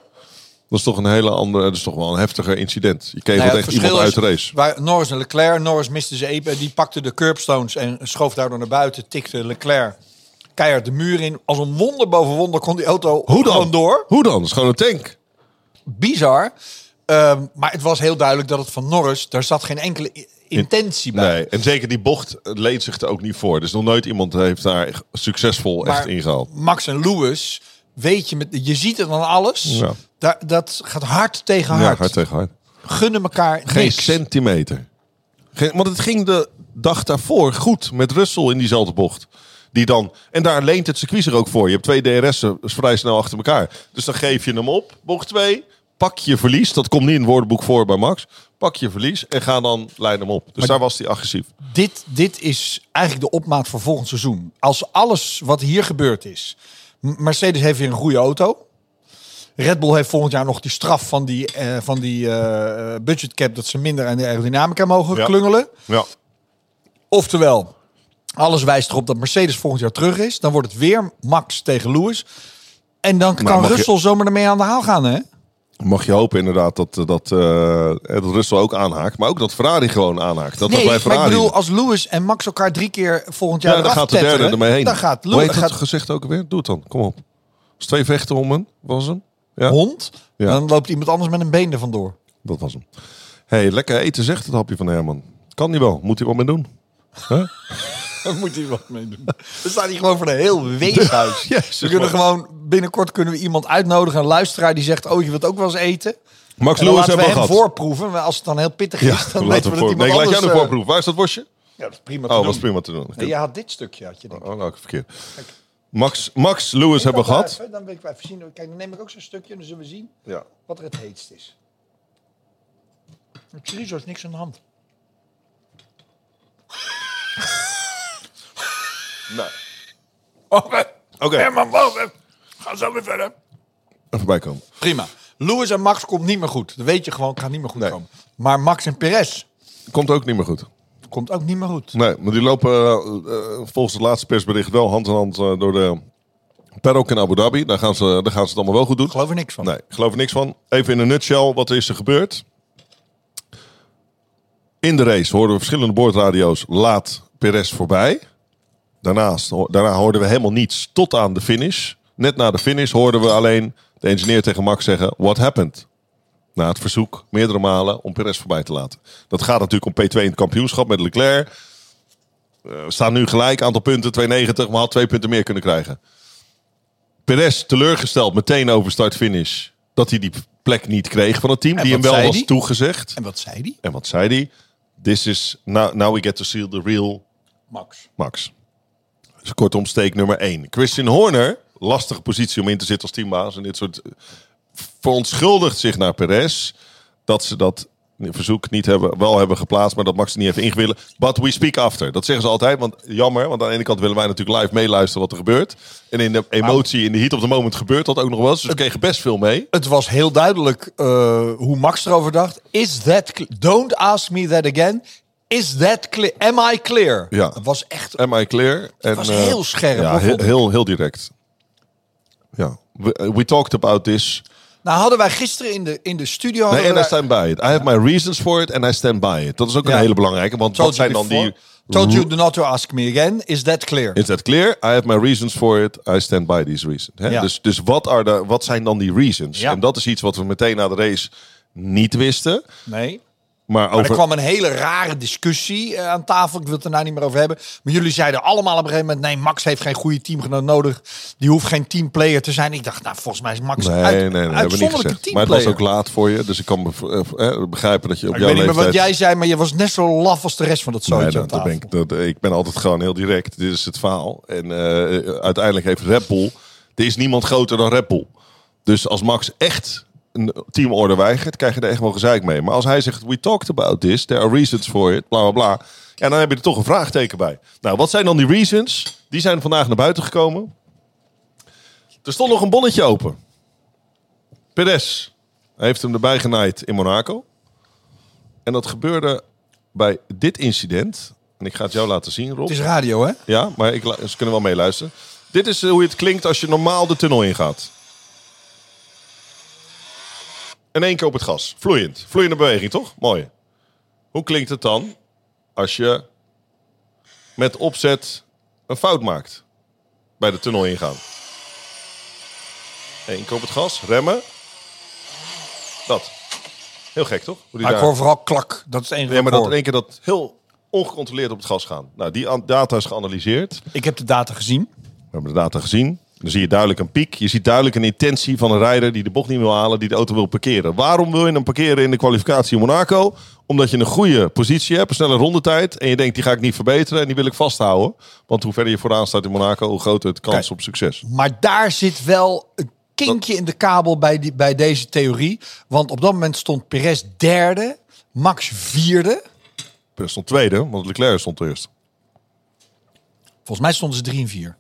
[SPEAKER 3] Dat is toch een hele andere, dat is toch wel een heftiger incident. Je kegelt
[SPEAKER 2] Nou ja,
[SPEAKER 3] echt iemand
[SPEAKER 2] is
[SPEAKER 3] uit de race.
[SPEAKER 2] Waar Norris en Leclerc, Norris miste ze even, die pakte de curbstones en schoof daardoor naar buiten, tikte Leclerc keihard de muur in. Als een wonder boven wonder kon die auto
[SPEAKER 3] Hoe dan?
[SPEAKER 2] gewoon door.
[SPEAKER 3] Hoe dan? Dat is gewoon een tank.
[SPEAKER 2] Bizar. Ehm, maar het was heel duidelijk dat het van Norris, daar zat geen enkele i- intentie bij.
[SPEAKER 3] Nee, en zeker die bocht leed zich er ook niet voor. Dus nog nooit iemand heeft daar succesvol echt
[SPEAKER 2] Maar
[SPEAKER 3] ingehaald.
[SPEAKER 2] Max en Lewis, weet je, met, je ziet het dan alles.
[SPEAKER 3] Ja.
[SPEAKER 2] Daar, dat gaat hard tegen
[SPEAKER 3] Ja,
[SPEAKER 2] hard.
[SPEAKER 3] hard tegen hard.
[SPEAKER 2] Gunnen elkaar
[SPEAKER 3] Geen
[SPEAKER 2] niks.
[SPEAKER 3] centimeter. Geen, want het ging de dag daarvoor goed met Russell in diezelfde bocht. Die dan, en daar leent Dus het circuit zich ook voor. Je hebt twee DRS'en vrij snel achter elkaar. Dus dan geef je hem op, bocht 2. pak je verlies. Dat komt niet in het woordenboek voor bij Max. Pak je verlies en ga dan, lijn hem op. Dus daar was hij agressief.
[SPEAKER 2] dit, dit is eigenlijk de opmaat voor volgend seizoen. Als alles wat hier gebeurd is. M- Mercedes heeft weer een goede auto. Red Bull heeft volgend jaar nog die straf van die, eh, van die eh, budget cap dat ze minder aan de aerodynamica mogen
[SPEAKER 3] Ja.
[SPEAKER 2] klungelen.
[SPEAKER 3] Ja.
[SPEAKER 2] Oftewel, alles wijst erop dat Mercedes volgend jaar terug is. Dan wordt het weer Max tegen Lewis. En dan kan
[SPEAKER 3] mag je-
[SPEAKER 2] Russell zomaar ermee aan de haal gaan, hè?
[SPEAKER 3] Mag je hopen inderdaad dat, eh, dat, eh, dat Russell ook aanhaakt. Maar ook dat Ferrari gewoon aanhaakt. Dat was bij
[SPEAKER 2] maar ik
[SPEAKER 3] Ferrari.
[SPEAKER 2] bedoel, als Lewis en Max elkaar drie keer volgend jaar
[SPEAKER 3] ja, dan
[SPEAKER 2] eraf
[SPEAKER 3] gaat de derde
[SPEAKER 2] tetteren,
[SPEAKER 3] ermee heen.
[SPEAKER 2] Dan gaat
[SPEAKER 3] Hoe heet
[SPEAKER 2] Lewis,
[SPEAKER 3] dat
[SPEAKER 2] gaat
[SPEAKER 3] gezegd ook weer? Doe het dan. Kom op. Als twee vechten om een, was hem. Ja,
[SPEAKER 2] hond.
[SPEAKER 3] Ja.
[SPEAKER 2] Dan loopt iemand anders met een been er <laughs> vandoor.
[SPEAKER 3] dat was hem. hey, lekker eten zegt het hapje van Herman. Kan niet wel. Moet hij wat mee doen.
[SPEAKER 2] Daar moet hij wat mee doen. We staan hier gewoon voor een heel <laughs> weeshuis.
[SPEAKER 3] Jezus,
[SPEAKER 2] we kunnen
[SPEAKER 3] man.
[SPEAKER 2] gewoon, binnenkort kunnen we iemand uitnodigen, een luisteraar die zegt, oh je wilt ook wel eens eten.
[SPEAKER 3] Max
[SPEAKER 2] En dan
[SPEAKER 3] Lewis
[SPEAKER 2] laten we
[SPEAKER 3] hebben we
[SPEAKER 2] hem
[SPEAKER 3] gehad.
[SPEAKER 2] voorproeven. Maar als het dan heel pittig
[SPEAKER 3] Ja,
[SPEAKER 2] is, <laughs> dan
[SPEAKER 3] laat
[SPEAKER 2] weten
[SPEAKER 3] hem
[SPEAKER 2] we
[SPEAKER 3] voor.
[SPEAKER 2] dat
[SPEAKER 3] Nee,
[SPEAKER 2] iemand
[SPEAKER 3] ik laat
[SPEAKER 2] anders...
[SPEAKER 3] jou de
[SPEAKER 2] eh,
[SPEAKER 3] voorproef. Waar is dat worstje?
[SPEAKER 2] Ja, dat is prima te
[SPEAKER 3] Oh,
[SPEAKER 2] doen.
[SPEAKER 3] was prima te doen.
[SPEAKER 2] Nee, je had dit stukje, had je denk ik.
[SPEAKER 3] Oh, nou, verkeerd. Max, Max Lewis hebben
[SPEAKER 2] Wacht
[SPEAKER 3] we gehad.
[SPEAKER 2] even, Dan wil ik wel even zien. Kijk, dan neem ik ook zo'n stukje en dan zullen we zien
[SPEAKER 3] Ja.
[SPEAKER 2] wat er het heetst is. Met chorizo is niks aan de hand.
[SPEAKER 3] Nou,
[SPEAKER 2] Oké,
[SPEAKER 3] Oké.
[SPEAKER 2] Herman, wacht Ga zo weer verder.
[SPEAKER 3] even bijkomen.
[SPEAKER 2] Prima. Lewis en Max komt niet meer goed. Dat weet je gewoon, gaat niet meer goed
[SPEAKER 3] Nee.
[SPEAKER 2] komen. Maar Max en Perez
[SPEAKER 3] Komt ook niet meer goed.
[SPEAKER 2] komt ook niet meer goed.
[SPEAKER 3] Nee, maar die lopen eh, eh, volgens het laatste persbericht wel hand in hand eh, door de paddock in Abu Dhabi. Daar gaan, ze, daar gaan ze het allemaal wel goed doen.
[SPEAKER 2] Ik geloof er niks van.
[SPEAKER 3] Nee, ik geloof er niks van. Even in een nutshell, wat is er gebeurd? In de race hoorden we verschillende boordradio's laat Perez voorbij. Daarnaast, ho- daarna hoorden we helemaal niets tot aan de finish. Net na de finish hoorden we alleen de engineer tegen Max zeggen, what happened? Na het verzoek meerdere malen om Perez voorbij te laten. Dat gaat natuurlijk om P2 in het kampioenschap met Leclerc. Eh, we staan nu gelijk, aantal punten 290, maar had twee punten meer kunnen krijgen. Perez teleurgesteld meteen over start-finish. Dat hij die plek niet kreeg van het team.
[SPEAKER 2] En
[SPEAKER 3] die hem
[SPEAKER 2] wat
[SPEAKER 3] wel
[SPEAKER 2] zei
[SPEAKER 3] was
[SPEAKER 2] die?
[SPEAKER 3] toegezegd.
[SPEAKER 2] En wat zei die?
[SPEAKER 3] En wat zei hij? This is, now, now we get to see the real
[SPEAKER 2] Max.
[SPEAKER 3] Max. Dus kortom, steek nummer 1. Christian Horner, lastige positie om in te zitten als teambaas. En dit soort eh, verontschuldigt zich naar Perez dat ze dat verzoek niet hebben, wel hebben geplaatst, maar dat Max er niet heeft ingewillen. But we speak after. Dat zeggen ze altijd, want jammer, want aan de ene kant willen wij natuurlijk live meeluisteren wat er gebeurt. En in de emotie, in de heat of the moment gebeurt dat ook nog wel eens. Dus we kregen best veel mee.
[SPEAKER 2] Het was heel duidelijk eh, hoe Max erover dacht. Is that... cl- Don't ask me that again. Is that clear? Am I clear?
[SPEAKER 3] Ja.
[SPEAKER 2] Het was echt...
[SPEAKER 3] Am I clear? En,
[SPEAKER 2] was
[SPEAKER 3] eh,
[SPEAKER 2] heel scherp,
[SPEAKER 3] Ja,
[SPEAKER 2] hoor,
[SPEAKER 3] heel,
[SPEAKER 2] vond ik.
[SPEAKER 3] heel, heel direct. Ja, we, we talked about this
[SPEAKER 2] Nou hadden wij gisteren in de, in de studio... hadden
[SPEAKER 3] Nee, en
[SPEAKER 2] wij-
[SPEAKER 3] I stand by it. I have my reasons for it and I stand by it. Dat is ook
[SPEAKER 2] Ja.
[SPEAKER 3] een hele belangrijke, want
[SPEAKER 2] Told
[SPEAKER 3] wat
[SPEAKER 2] you
[SPEAKER 3] zijn dan
[SPEAKER 2] before-
[SPEAKER 3] die...
[SPEAKER 2] Told you not to ask me again. Is that clear?
[SPEAKER 3] Is that clear? I have my reasons for it. I stand by these reasons. Hè?
[SPEAKER 2] Ja.
[SPEAKER 3] Dus, dus wat, are the, wat zijn dan die reasons?
[SPEAKER 2] Ja.
[SPEAKER 3] En dat is iets wat we meteen na de race niet wisten.
[SPEAKER 2] Nee.
[SPEAKER 3] Maar
[SPEAKER 2] Er
[SPEAKER 3] over...
[SPEAKER 2] kwam een hele rare discussie eh, aan tafel. Ik wil het er nou niet meer over hebben. Maar jullie zeiden allemaal op een gegeven moment... nee, Max heeft geen goede teamgenoot nodig. Die hoeft geen teamplayer te zijn. Ik dacht, nou, volgens mij is Max
[SPEAKER 3] Nee,
[SPEAKER 2] een
[SPEAKER 3] nee,
[SPEAKER 2] uit,
[SPEAKER 3] nee, dat hebben we niet
[SPEAKER 2] uitzonderlijke
[SPEAKER 3] gezegd. Maar het was ook
[SPEAKER 2] teamplayer.
[SPEAKER 3] laat voor je, dus ik kan be- eh, eh, begrijpen dat je op
[SPEAKER 2] Ik
[SPEAKER 3] jouw
[SPEAKER 2] weet niet
[SPEAKER 3] leeftijd...
[SPEAKER 2] meer wat jij zei, maar je was net zo laf als de rest van dat
[SPEAKER 3] Nee,
[SPEAKER 2] zootje
[SPEAKER 3] dat-
[SPEAKER 2] aan
[SPEAKER 3] dat
[SPEAKER 2] tafel.
[SPEAKER 3] ben ik, dat, ik ben altijd gewoon heel direct. Dit is het verhaal. En eh, uiteindelijk heeft Red Bull... Er is niemand groter dan Red Bull. Dus als Max echt een teamorder weigert... krijg je er echt wel gezeik mee. Maar als hij zegt... We talked about this. There are reasons for it. Bla, bla, bla. Ja, dan heb je er toch een vraagteken bij. Nou, wat zijn dan die reasons? Die zijn vandaag naar buiten gekomen. Er stond nog een bonnetje open. Perez heeft hem erbij genaaid in Monaco. En dat gebeurde bij dit incident. En ik ga het jou laten zien, Rob.
[SPEAKER 2] Het is radio, hè?
[SPEAKER 3] Ja, maar ik, lu- ze kunnen wel meeluisteren. Dit is eh, hoe het klinkt als je normaal de tunnel ingaat. In één keer op het gas. Vloeiend. Vloeiende beweging, toch? Mooi. Hoe klinkt het dan als je met opzet een fout maakt bij de tunnel ingaan? Eén keer op het gas, remmen. Dat. Heel gek, toch? Hoe die
[SPEAKER 2] Maar ik
[SPEAKER 3] daar-
[SPEAKER 2] hoor vooral klak. Dat is het enige
[SPEAKER 3] ja, maar
[SPEAKER 2] wat
[SPEAKER 3] dat
[SPEAKER 2] ik hoor.
[SPEAKER 3] in één keer dat heel ongecontroleerd op het gas gaan. Nou, die an- data is geanalyseerd.
[SPEAKER 2] Ik heb de data gezien.
[SPEAKER 3] We hebben de data gezien. Dan zie je duidelijk een piek. Je ziet duidelijk een intentie van een rijder die de bocht niet wil halen, die de auto wil parkeren. Waarom wil je hem parkeren in de kwalificatie in Monaco? Omdat je een goede positie hebt, een snelle rondetijd. En je denkt, die ga ik niet verbeteren en die wil ik vasthouden. Want hoe verder je vooraan staat in Monaco, hoe groter het kans
[SPEAKER 2] Kijk.
[SPEAKER 3] op succes.
[SPEAKER 2] Maar daar zit wel een kinkje in de kabel bij, die, bij deze theorie. Want op dat moment stond Perez derde, Max vierde.
[SPEAKER 3] Perez stond tweede, want Leclerc stond eerst.
[SPEAKER 2] Volgens mij stonden ze drie en vier.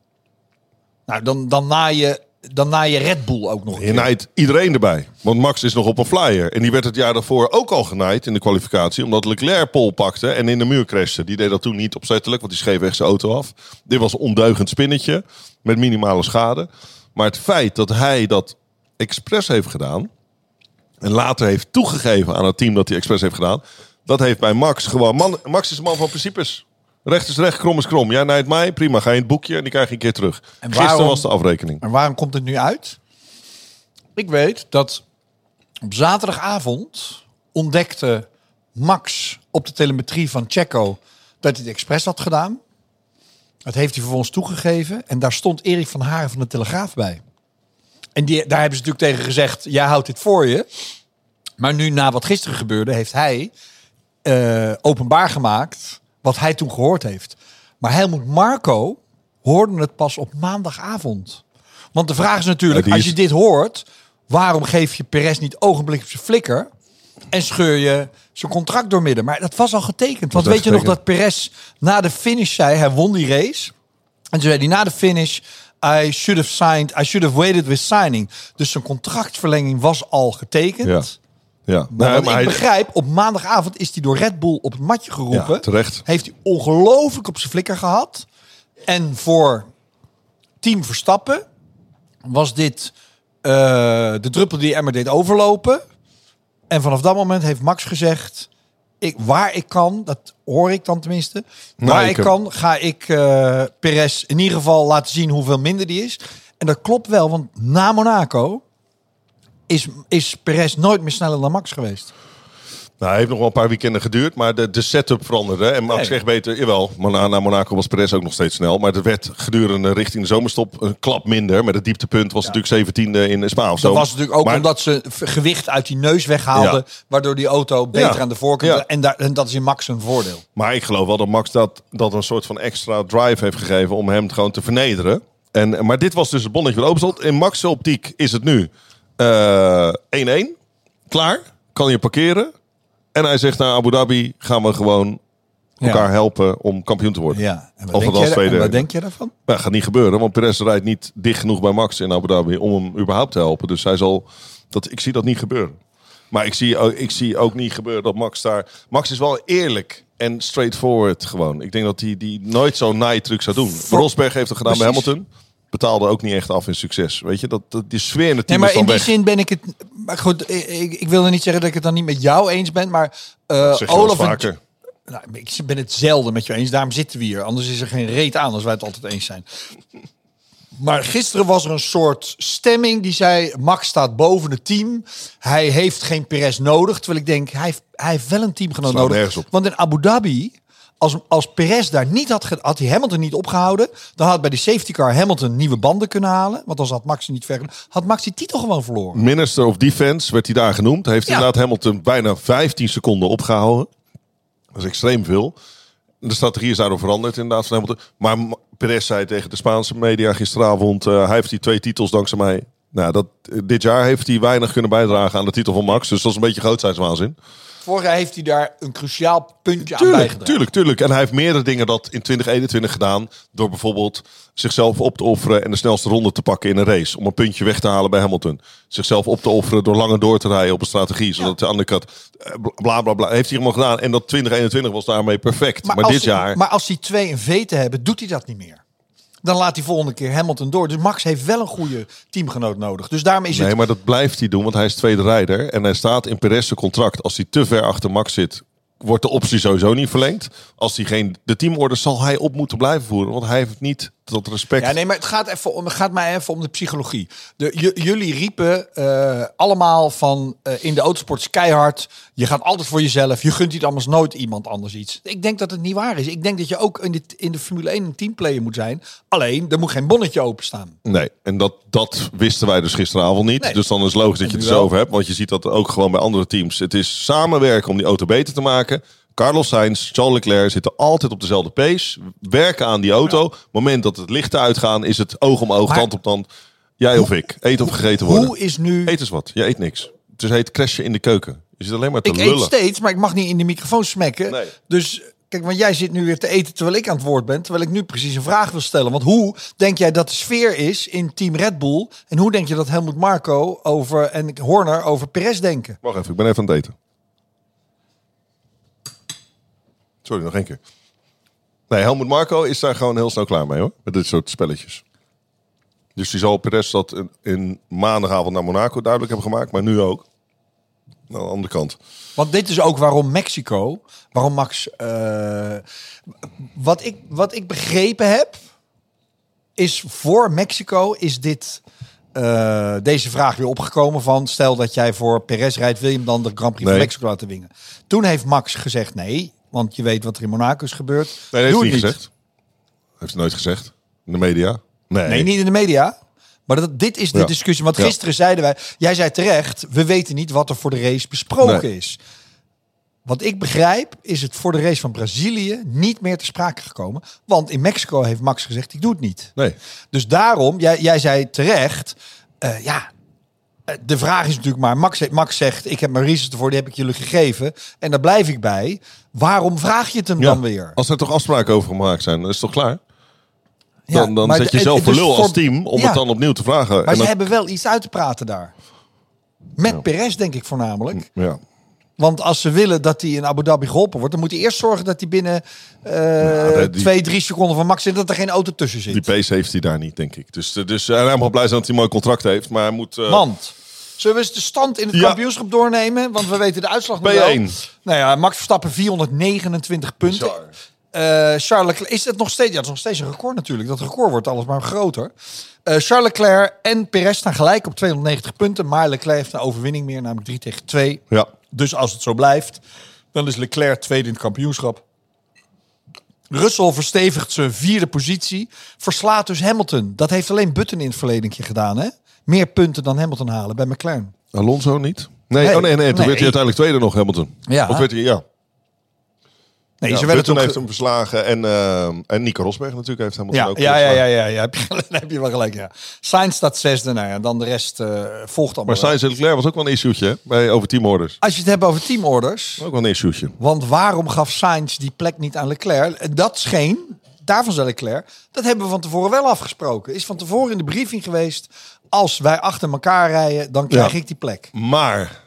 [SPEAKER 2] Nou, dan, dan, na, je, dan na je Red Bull ook nog. een
[SPEAKER 3] Je
[SPEAKER 2] keer.
[SPEAKER 3] naait iedereen erbij. Want Max is nog op een flyer. En die werd het jaar daarvoor ook al genaaid in de kwalificatie. Omdat Leclerc pol pakte en in de muur crashte. Die deed dat toen niet opzettelijk, want die schreef echt zijn auto af. Dit was een ondeugend spinnetje met minimale schade. Maar het feit dat hij dat expres heeft gedaan... en later heeft toegegeven aan het team dat hij expres heeft gedaan... dat heeft bij Max gewoon... Man, Max is een man van principes. Recht is recht, krom is krom. Jij naait mij, prima. Ga je in het boekje en die krijg je een keer terug.
[SPEAKER 2] En
[SPEAKER 3] Gisteren
[SPEAKER 2] waarom-
[SPEAKER 3] was de afrekening.
[SPEAKER 2] Maar waarom komt het nu uit? Ik weet dat op zaterdagavond ontdekte Max op de telemetrie van Checo dat hij het expres had gedaan. Dat heeft hij vervolgens toegegeven. En daar stond Erik van Haren van de Telegraaf bij. En die, daar hebben ze natuurlijk tegen gezegd, jij houdt dit voor je. Maar nu, na wat gisteren gebeurde, heeft hij eh, openbaar gemaakt wat hij toen gehoord heeft. Maar Helmoet Marco hoorde het pas op maandagavond. Want de vraag is natuurlijk,
[SPEAKER 3] Ja, die
[SPEAKER 2] als
[SPEAKER 3] is-
[SPEAKER 2] je dit hoort, waarom geef je Perez niet ogenblik op zijn flikker en scheur je zijn contract doormidden? Maar dat was al getekend. Want
[SPEAKER 3] Dat
[SPEAKER 2] weet
[SPEAKER 3] was
[SPEAKER 2] je nog dat
[SPEAKER 3] getekend.
[SPEAKER 2] Perez na de finish zei, hij won die race. En toen zei hij na de finish, I should have signed, I should have waited with signing. Dus zijn contractverlenging was al getekend.
[SPEAKER 3] Ja. Ja.
[SPEAKER 2] Maar
[SPEAKER 3] Nee,
[SPEAKER 2] wat
[SPEAKER 3] maar
[SPEAKER 2] ik
[SPEAKER 3] hij-
[SPEAKER 2] begrijp, op maandagavond is hij door Red Bull op het matje geroepen.
[SPEAKER 3] Ja, terecht.
[SPEAKER 2] Heeft hij ongelooflijk op zijn flikker gehad. En voor Team Verstappen was dit eh, de druppel die Emmer deed overlopen. En vanaf dat moment heeft Max gezegd... Ik, waar ik kan, dat hoor ik dan tenminste.
[SPEAKER 3] Nou,
[SPEAKER 2] waar
[SPEAKER 3] ik
[SPEAKER 2] ik
[SPEAKER 3] heb-
[SPEAKER 2] kan, ga ik eh Perez in ieder geval laten zien hoeveel minder die is. En dat klopt wel, want na Monaco is, is Perez nooit meer sneller dan Max geweest.
[SPEAKER 3] Nou, hij heeft nog wel een paar weekenden geduurd, maar de, de setup veranderde. hè. En Max
[SPEAKER 2] Nee.
[SPEAKER 3] kreeg beter, jawel, Mona- na Monaco was Perez ook nog steeds snel. Maar het werd gedurende richting de zomerstop een klap minder. Met het dieptepunt was natuurlijk 17e in Spa of zo.
[SPEAKER 2] Dat was natuurlijk ook
[SPEAKER 3] Maar-
[SPEAKER 2] omdat ze v- gewicht uit die neus weghaalden, waardoor die auto beter
[SPEAKER 3] Ja.
[SPEAKER 2] aan de voorkant
[SPEAKER 3] Ja.
[SPEAKER 2] en, daar, en dat is in Max een voordeel.
[SPEAKER 3] Maar ik geloof wel dat Max dat, dat een soort van extra drive heeft gegeven om hem gewoon te vernederen. En, maar dit was dus het bonnetje wat open stond. In Max' optiek is het nu eh, 1-1. Klaar. Kan je parkeren. En hij zegt naar Abu Dhabi gaan we gewoon elkaar helpen om kampioen te worden.
[SPEAKER 2] Ja. En
[SPEAKER 3] Of
[SPEAKER 2] wat, denk
[SPEAKER 3] dat
[SPEAKER 2] jij, daar-
[SPEAKER 3] als
[SPEAKER 2] en
[SPEAKER 3] tweede.
[SPEAKER 2] wat denk je daarvan?
[SPEAKER 3] Maar dat Nou, gaat niet gebeuren, want Perez rijdt niet dicht genoeg bij Max in Abu Dhabi om hem überhaupt te helpen. Dus hij zal dat, ik zie dat niet gebeuren. Maar ik zie, ook- ik zie ook niet gebeuren dat Max daar. Max is wel eerlijk en straightforward gewoon. Ik denk dat hij die nooit zo'n naai truc zou doen. Rosberg heeft het gedaan bij
[SPEAKER 2] Precies.
[SPEAKER 3] Hamilton. Betaalde ook niet echt af in succes. Weet je, dat, dat die sfeer in het
[SPEAKER 2] Nee,
[SPEAKER 3] team
[SPEAKER 2] maar
[SPEAKER 3] is dan
[SPEAKER 2] in die
[SPEAKER 3] weg.
[SPEAKER 2] zin ben ik het. Maar goed, ik, ik, ik wilde niet zeggen dat ik het dan niet met jou eens ben, maar eh
[SPEAKER 3] zeg je wel eens
[SPEAKER 2] Olaf. en-
[SPEAKER 3] vaker.
[SPEAKER 2] Nou, ik ben het zelden met je eens, daarom zitten we hier. Anders is er geen reet aan als wij het altijd eens <laughs> zijn. Maar gisteren was er een soort stemming die zei: Max staat boven het team. Hij heeft geen Perez nodig. Terwijl ik denk, hij heeft, hij heeft wel een teamgenoot
[SPEAKER 3] Slaat
[SPEAKER 2] nodig.
[SPEAKER 3] nergens op.
[SPEAKER 2] Want in Abu Dhabi, als, als Perez daar niet had, ge- had hij Hamilton niet opgehouden, dan had bij die safety car Hamilton nieuwe banden kunnen halen. Want dan had Max niet ver. Had Max die titel gewoon verloren.
[SPEAKER 3] Minister of Defense werd hij daar genoemd. Heeft
[SPEAKER 2] Ja.
[SPEAKER 3] inderdaad Hamilton bijna 15 seconden opgehouden. Dat is extreem veel. De strategie is daardoor veranderd inderdaad van Hamilton. Maar M- Perez zei tegen de Spaanse media gisteravond... eh, hij heeft die twee titels dankzij mij. Nou, dat, eh, dit jaar heeft hij weinig kunnen bijdragen aan de titel van Max. Dus dat is een beetje grootheidswaanzin.
[SPEAKER 2] Vorig jaar heeft hij daar een cruciaal puntje aan
[SPEAKER 3] Tuurlijk,
[SPEAKER 2] bijgedragen.
[SPEAKER 3] tuurlijk, tuurlijk. En hij heeft meerdere dingen dat in 2021 gedaan. Door bijvoorbeeld zichzelf op te offeren en de snelste ronde te pakken in een race. Om een puntje weg te halen bij Hamilton. Zichzelf op te offeren door langer door te rijden op een strategie. Zodat de undercut, eh, bla bla bla, heeft hij helemaal gedaan. En dat 2021 was daarmee perfect. Maar,
[SPEAKER 2] als
[SPEAKER 3] dit
[SPEAKER 2] hij-
[SPEAKER 3] jaar...
[SPEAKER 2] Maar als die twee een veten hebben, doet hij dat niet meer. Dan laat hij volgende keer Hamilton door. Dus Max heeft wel een goede teamgenoot nodig. Dus daarom is
[SPEAKER 3] Nee,
[SPEAKER 2] het.
[SPEAKER 3] maar dat blijft hij doen, want hij is tweede rijder. En hij staat in Perez zijn contract. Als hij te ver achter Max zit, wordt de optie sowieso niet verlengd. Als hij geen... De teamorders zal hij op moeten blijven voeren. Want hij heeft niet dat respect...
[SPEAKER 2] Ja, nee, maar het gaat, even om, het gaat mij even om de psychologie. De, j- jullie riepen eh, allemaal van eh, in de autosport is keihard. Je gaat altijd voor jezelf. Je gunt iets anders nooit iemand anders iets. Ik denk dat het niet waar is. Ik denk dat je ook in de, in de Formule 1 een teamplayer moet zijn. Alleen, er moet geen bonnetje openstaan.
[SPEAKER 3] Nee, en dat, dat wisten wij dus gisteravond niet.
[SPEAKER 2] Nee.
[SPEAKER 3] Dus dan is het logisch dat je
[SPEAKER 2] nu
[SPEAKER 3] het er zo
[SPEAKER 2] wel.
[SPEAKER 3] over hebt. Want je ziet dat ook gewoon bij andere teams. Het is samenwerken om die auto beter te maken. Carlos Sainz, Charles Leclerc zitten altijd op dezelfde pace. Werken aan die auto. Op het moment dat het lichten uitgaan, is het oog om oog,
[SPEAKER 2] Maar-
[SPEAKER 3] tand op tand. Jij of ik. Eet of gegeten worden.
[SPEAKER 2] Hoe is nu...
[SPEAKER 3] Eet eens wat. Je eet niks. Het is heet crashen in de keuken. Je zit alleen maar te
[SPEAKER 2] ik
[SPEAKER 3] lullen.
[SPEAKER 2] eet steeds, maar ik mag niet in de microfoon smekken.
[SPEAKER 3] Nee.
[SPEAKER 2] Dus kijk, want jij zit nu weer te eten terwijl ik aan het woord ben. Terwijl ik nu precies een vraag wil stellen. Want hoe denk jij dat de sfeer is in Team Red Bull? En hoe denk je dat Helmut Marco over en Horner over Perez denken?
[SPEAKER 3] Wacht even, ik ben even aan het eten. Sorry, nog één keer. Nee, Helmut Marco is daar gewoon heel snel klaar mee hoor. Met dit soort spelletjes. Dus die zal Perez dat in, in maandagavond naar Monaco duidelijk hebben gemaakt. Maar nu ook. Aan de andere kant.
[SPEAKER 2] Want dit is ook waarom Mexico, waarom Max. eh, wat, ik, wat ik begrepen heb, is voor Mexico is dit. eh, deze vraag weer opgekomen van stel dat jij voor Perez rijdt, wil je hem dan de Grand Prix
[SPEAKER 3] Nee.
[SPEAKER 2] van Mexico laten winnen? Toen heeft Max gezegd nee, want je weet wat er in Monaco is gebeurd.
[SPEAKER 3] Nee, dat heeft
[SPEAKER 2] Doe
[SPEAKER 3] hij niet
[SPEAKER 2] het
[SPEAKER 3] gezegd. Heeft hij nooit gezegd. In de media. Nee.
[SPEAKER 2] Nee, niet in de media. Maar dat, dit is de
[SPEAKER 3] Ja.
[SPEAKER 2] discussie. Want
[SPEAKER 3] Ja.
[SPEAKER 2] gisteren zeiden wij, jij zei terecht, we weten niet wat er voor de race besproken
[SPEAKER 3] Nee.
[SPEAKER 2] is. Wat ik begrijp, is het voor de race van Brazilië niet meer te sprake gekomen. Want in Mexico heeft Max gezegd, ik doe het niet.
[SPEAKER 3] Nee.
[SPEAKER 2] Dus daarom, jij, jij zei terecht, eh, ja, eh, de vraag is natuurlijk maar, Max, zegt- Max zegt, ik heb mijn reasons ervoor, die heb ik jullie gegeven. En daar blijf ik bij. Waarom vraag je het hem
[SPEAKER 3] Ja,
[SPEAKER 2] dan weer?
[SPEAKER 3] Als er toch afspraken over gemaakt zijn, dan is het toch klaar?
[SPEAKER 2] Ja,
[SPEAKER 3] dan dan
[SPEAKER 2] maar
[SPEAKER 3] zet je
[SPEAKER 2] het-
[SPEAKER 3] zelf
[SPEAKER 2] dus
[SPEAKER 3] voor lul als
[SPEAKER 2] voor-
[SPEAKER 3] team om
[SPEAKER 2] Ja.
[SPEAKER 3] het dan opnieuw te vragen.
[SPEAKER 2] Maar
[SPEAKER 3] En
[SPEAKER 2] ze
[SPEAKER 3] dan-
[SPEAKER 2] hebben wel iets uit te praten daar. Met Perez denk ik voornamelijk.
[SPEAKER 3] ja.
[SPEAKER 2] Want als ze willen dat hij in Abu Dhabi geholpen wordt... dan moet hij eerst zorgen dat hij binnen eh,
[SPEAKER 3] dat- die-
[SPEAKER 2] twee, drie seconden van Max zit... dat er geen auto tussen zit.
[SPEAKER 3] Die pace heeft hij daar niet, denk ik. Dus, eh, dus en hij mag blij zijn dat hij een mooi contract heeft. Maar hij moet... eh,
[SPEAKER 2] Want, zullen we eens de stand in het
[SPEAKER 3] Ja.
[SPEAKER 2] kampioenschap doornemen? Want we weten de uitslag nog wel.
[SPEAKER 3] P1.
[SPEAKER 2] Nou ja, Max Verstappen 429 punten.
[SPEAKER 3] Bizar.
[SPEAKER 2] Eh, Charles Leclerc, is het nog steeds? Ja, het is nog steeds een record natuurlijk. Dat record wordt alles maar groter. Eh Charles Leclerc en Perez staan gelijk op 290 punten. Maar Leclerc heeft een overwinning meer, namelijk 3 tegen 2.
[SPEAKER 3] Ja.
[SPEAKER 2] Dus als het zo blijft, dan is Leclerc tweede in het kampioenschap. Russell verstevigt zijn vierde positie. Verslaat dus Hamilton. Dat heeft alleen Button in het verleden gedaan, hè? Meer punten dan Hamilton halen bij McLaren.
[SPEAKER 3] Alonso niet? Nee,
[SPEAKER 2] Nee.
[SPEAKER 3] oh nee, nee.
[SPEAKER 2] Nee.
[SPEAKER 3] Toen werd hij uiteindelijk tweede nog, Hamilton.
[SPEAKER 2] Ja.
[SPEAKER 3] Of werd hij, ja.
[SPEAKER 2] Nee,
[SPEAKER 3] ja
[SPEAKER 2] ze werden
[SPEAKER 3] Button
[SPEAKER 2] toch...
[SPEAKER 3] heeft hem verslagen. En, eh, en Nico Rosberg natuurlijk heeft Hamilton
[SPEAKER 2] ja,
[SPEAKER 3] ook
[SPEAKER 2] ja, ja,
[SPEAKER 3] verslagen.
[SPEAKER 2] ja, ja, ja. <laughs> Heb je, daar heb je wel gelijk, ja. Sainz staat zesde, nou ja. Dan de rest eh, volgt allemaal.
[SPEAKER 3] Maar Sainz en Leclerc was ook wel een issue'tje hè, bij, over teamorders.
[SPEAKER 2] Als je het hebt over teamorders...
[SPEAKER 3] Ook wel een issue'tje.
[SPEAKER 2] Want waarom gaf Sainz die plek niet aan Leclerc? Dat scheen, daarvan zei Leclerc, dat hebben we van tevoren wel afgesproken. Is van tevoren in de briefing geweest, als wij achter elkaar rijden, dan krijg
[SPEAKER 3] Ja.
[SPEAKER 2] ik die plek.
[SPEAKER 3] Maar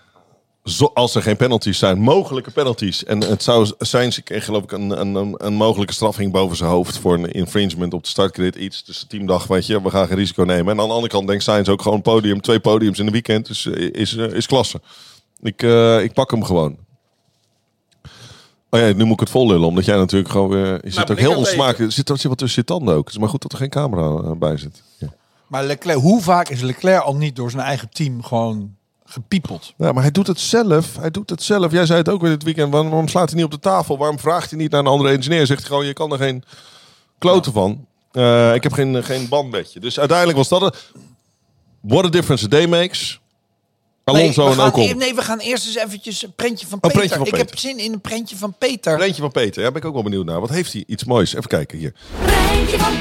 [SPEAKER 3] zo, als er geen penalties zijn, mogelijke penalties. En het zou zijn, ze kreeg geloof ik een, een, een, een mogelijke straffing boven zijn hoofd voor een infringement op de startgrid. Iets. Dus de team dacht, weet je, we gaan geen risico nemen. En aan de andere kant denkt Sainz ook gewoon podium, twee podiums in een weekend. Dus eh, is, eh, is klasse. Ik, eh, ik pak hem gewoon. Oh ja, nu moet ik het vol lullen, omdat jij natuurlijk gewoon weer... Je
[SPEAKER 5] ben
[SPEAKER 3] zit ook
[SPEAKER 5] ik aan
[SPEAKER 3] heel
[SPEAKER 5] het
[SPEAKER 3] onsmakelijk... Er zit, er zit wat tussen je tanden ook. Het is maar goed dat er geen camera eh, bij zit. Ja.
[SPEAKER 2] Maar Leclerc, hoe vaak is Leclerc al niet door zijn eigen team gewoon gepiepeld?
[SPEAKER 3] Ja, maar hij doet het zelf. Hij doet het zelf. Jij zei het ook weer dit weekend. Waarom, waarom slaat hij niet op de tafel? Waarom vraagt hij niet naar een andere engineer? Zegt hij gewoon, je kan er geen kloten van. Eh, ik heb geen, geen band met je. Dus uiteindelijk was dat het. What a difference a day makes. Alonso
[SPEAKER 2] nee,
[SPEAKER 3] en
[SPEAKER 2] we gaan,
[SPEAKER 3] Ocon.
[SPEAKER 2] e- nee, we gaan eerst eens eventjes een prentje van
[SPEAKER 3] Een
[SPEAKER 2] Peter.
[SPEAKER 3] prentje van
[SPEAKER 2] ik heb
[SPEAKER 3] Peter.
[SPEAKER 2] zin in een prentje van Peter.
[SPEAKER 3] Een eentje van Peter. Daar ben ik ook wel benieuwd naar. Wat heeft hij? Iets moois. Even kijken hier.
[SPEAKER 4] Rijntje van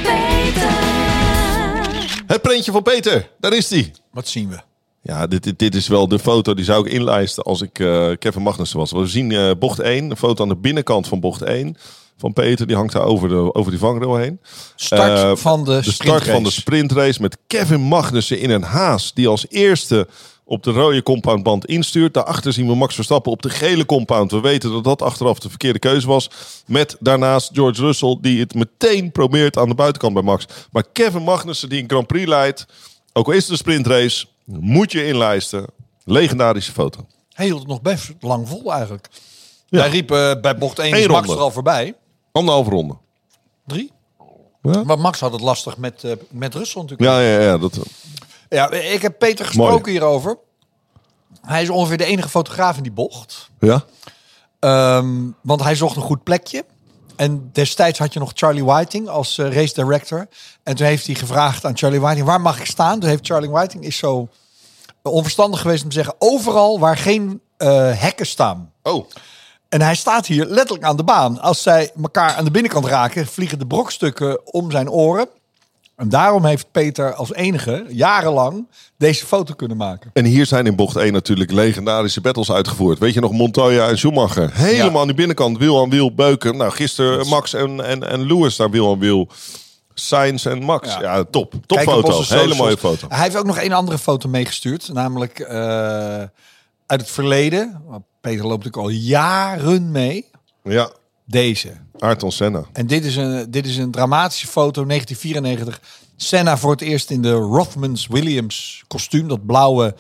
[SPEAKER 4] Peter.
[SPEAKER 3] Het printje van Peter. Daar is hij.
[SPEAKER 2] Wat zien we?
[SPEAKER 3] Ja, dit, dit, dit is wel de foto die zou ik inlijsten als ik eh, Kevin Magnussen was. We zien eh, bocht 1, een foto aan de binnenkant van bocht 1 van Peter. Die hangt daar over, de, over die vangrail heen.
[SPEAKER 2] Start
[SPEAKER 3] Eh,
[SPEAKER 2] van de,
[SPEAKER 3] de start van de
[SPEAKER 2] sprintrace.
[SPEAKER 3] sprintrace met Kevin Magnussen in een haas. Die als eerste op de rode compoundband instuurt. Daarachter zien we Max Verstappen op de gele compound. We weten dat dat achteraf de verkeerde keuze was. Met daarnaast George Russell die het meteen probeert aan de buitenkant bij Max. Maar Kevin Magnussen die een Grand Prix leidt. Ook al is het een sprintrace. Moet je inlijsten. Legendarische foto.
[SPEAKER 2] Hij hield het nog best lang vol eigenlijk.
[SPEAKER 3] Ja.
[SPEAKER 2] Hij riep eh, bij bocht 1
[SPEAKER 3] Eén
[SPEAKER 2] is Max
[SPEAKER 3] ronde.
[SPEAKER 2] er al voorbij.
[SPEAKER 3] Anderhalve ronde.
[SPEAKER 2] Drie.
[SPEAKER 3] Ja?
[SPEAKER 2] Maar Max had het lastig met, eh met Russell natuurlijk.
[SPEAKER 3] Ja, ja, ja. Dat,
[SPEAKER 2] Ja, ik heb Peter gesproken
[SPEAKER 3] Mooi.
[SPEAKER 2] hierover. Hij is ongeveer de enige fotograaf in die bocht.
[SPEAKER 3] ja.
[SPEAKER 2] Ehm, want hij zocht een goed plekje. En destijds had je nog Charlie Whiting als eh, race director. En toen heeft hij gevraagd aan Charlie Whiting, waar mag ik staan? Toen heeft Charlie Whiting is zo onverstandig geweest om te zeggen, overal waar geen eh, hekken staan.
[SPEAKER 3] Oh.
[SPEAKER 2] En hij staat hier letterlijk aan de baan. Als zij elkaar aan de binnenkant raken, vliegen de brokstukken om zijn oren. En daarom heeft Peter als enige jarenlang deze foto kunnen maken.
[SPEAKER 3] En hier zijn in bocht 1 natuurlijk legendarische battles uitgevoerd. Weet je nog, Montoya en Schumacher. Helemaal
[SPEAKER 2] Ja.
[SPEAKER 3] aan de binnenkant, wiel aan wiel, beuken. Nou, gisteren Max en, en, en Lewis daar wiel aan wiel. Sainz en Max. Ja,
[SPEAKER 2] Ja.
[SPEAKER 3] top. Top
[SPEAKER 2] Kijk op onze
[SPEAKER 3] foto. Hele
[SPEAKER 2] socials.
[SPEAKER 3] mooie foto.
[SPEAKER 2] Hij heeft ook nog één andere foto meegestuurd. Namelijk eh, uit het verleden. Want Peter loopt natuurlijk al jaren mee.
[SPEAKER 3] Ja,
[SPEAKER 2] Deze.
[SPEAKER 3] Ayrton Senna.
[SPEAKER 2] En dit is een, dit is een dramatische foto, 1994. Senna voor het eerst in de Rothmans Williams kostuum. Dat blauwe,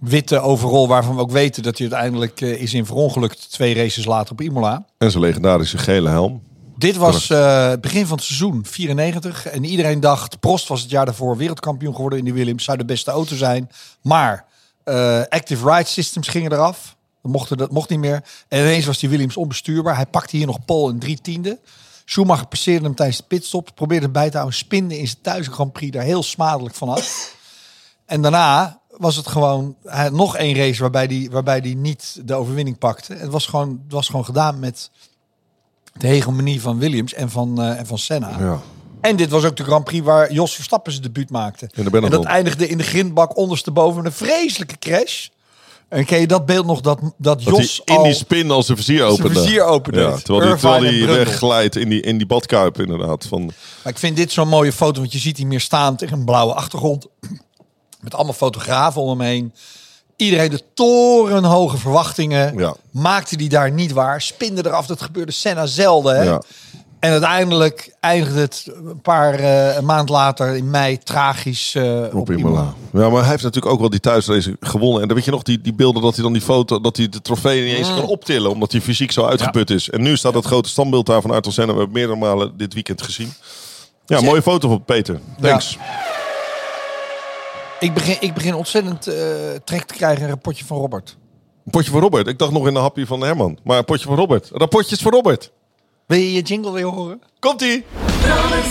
[SPEAKER 2] witte overall waarvan we ook weten dat hij uiteindelijk eh, is in verongelukt. Twee races later op Imola.
[SPEAKER 3] En zijn legendarische gele helm.
[SPEAKER 2] Dit was eh, het begin van het seizoen, 94. En iedereen dacht, Prost was het jaar daarvoor wereldkampioen geworden in de Williams. Zou de beste auto zijn. Maar eh, Active Ride Systems gingen eraf. Dat mocht, dat mocht niet meer. En ineens was die Williams onbestuurbaar. Hij pakte hier nog Paul in drie tiende. Schumacher passeerde hem tijdens de pitstop. Probeerde hem bij te houden. Spinde in zijn thuis Grand Prix daar heel smadelijk van af. En daarna was het gewoon hij had nog één race waarbij die, waarbij die niet de overwinning pakte. Het was gewoon, het was gewoon gedaan met de hegemonie van Williams en van, eh, en van Senna.
[SPEAKER 3] Ja.
[SPEAKER 2] En dit was ook de Grand Prix waar Jos Verstappen zijn debuut maakte.
[SPEAKER 3] daar ben ik
[SPEAKER 2] dat
[SPEAKER 3] op.
[SPEAKER 2] eindigde in de grindbak ondersteboven met een vreselijke crash. En ken je dat beeld nog dat, dat
[SPEAKER 3] Dat
[SPEAKER 2] Jos
[SPEAKER 3] hij in
[SPEAKER 2] al...
[SPEAKER 3] die spin als de vizier opende.
[SPEAKER 2] vizier opende.
[SPEAKER 3] Ja, terwijl hij,
[SPEAKER 2] Irvine
[SPEAKER 3] terwijl
[SPEAKER 2] en
[SPEAKER 3] hij
[SPEAKER 2] Brundle.
[SPEAKER 3] wegglijdt in die, in die badkuip inderdaad. Van,
[SPEAKER 2] Maar ik vind dit zo'n mooie foto, want je ziet hem meer staan tegen een blauwe achtergrond. Met allemaal fotografen om hem heen. Iedereen de torenhoge verwachtingen.
[SPEAKER 3] Ja.
[SPEAKER 2] Maakte die daar niet waar. Spinde eraf. Dat gebeurde Senna zelden. Hè?
[SPEAKER 3] Ja.
[SPEAKER 2] En uiteindelijk eindigde het een paar eh, een maand later in mei tragisch eh, op,
[SPEAKER 3] op Imola. Ja, maar hij heeft natuurlijk ook wel die thuisrace gewonnen. En dan weet je nog die, die beelden dat hij dan die foto, dat hij de trofee niet eens kan optillen, omdat hij fysiek zo uitgeput is. En nu staat dat grote standbeeld daar van Ayrton Senna. We hebben meerdere malen dit weekend gezien. Ja, mooie foto van Peter. Thanks.
[SPEAKER 2] Ik begin, ik begin ontzettend eh, trek te krijgen in een rapportje van Robert.
[SPEAKER 3] Een potje voor Robert. Ik dacht nog in een hapje van Herman. Maar een potje voor Robert. Rapportjes voor Robert.
[SPEAKER 2] Wil je je jingle weer horen?
[SPEAKER 3] Komt-ie!
[SPEAKER 4] Rollen's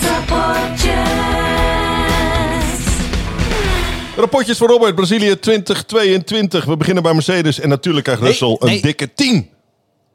[SPEAKER 4] Rapportjes.
[SPEAKER 3] Rapportjes voor Robert. Brazilië 2022. We beginnen bij Mercedes. En natuurlijk krijgt
[SPEAKER 2] Nee,
[SPEAKER 3] Russell een
[SPEAKER 2] nee.
[SPEAKER 3] dikke 10.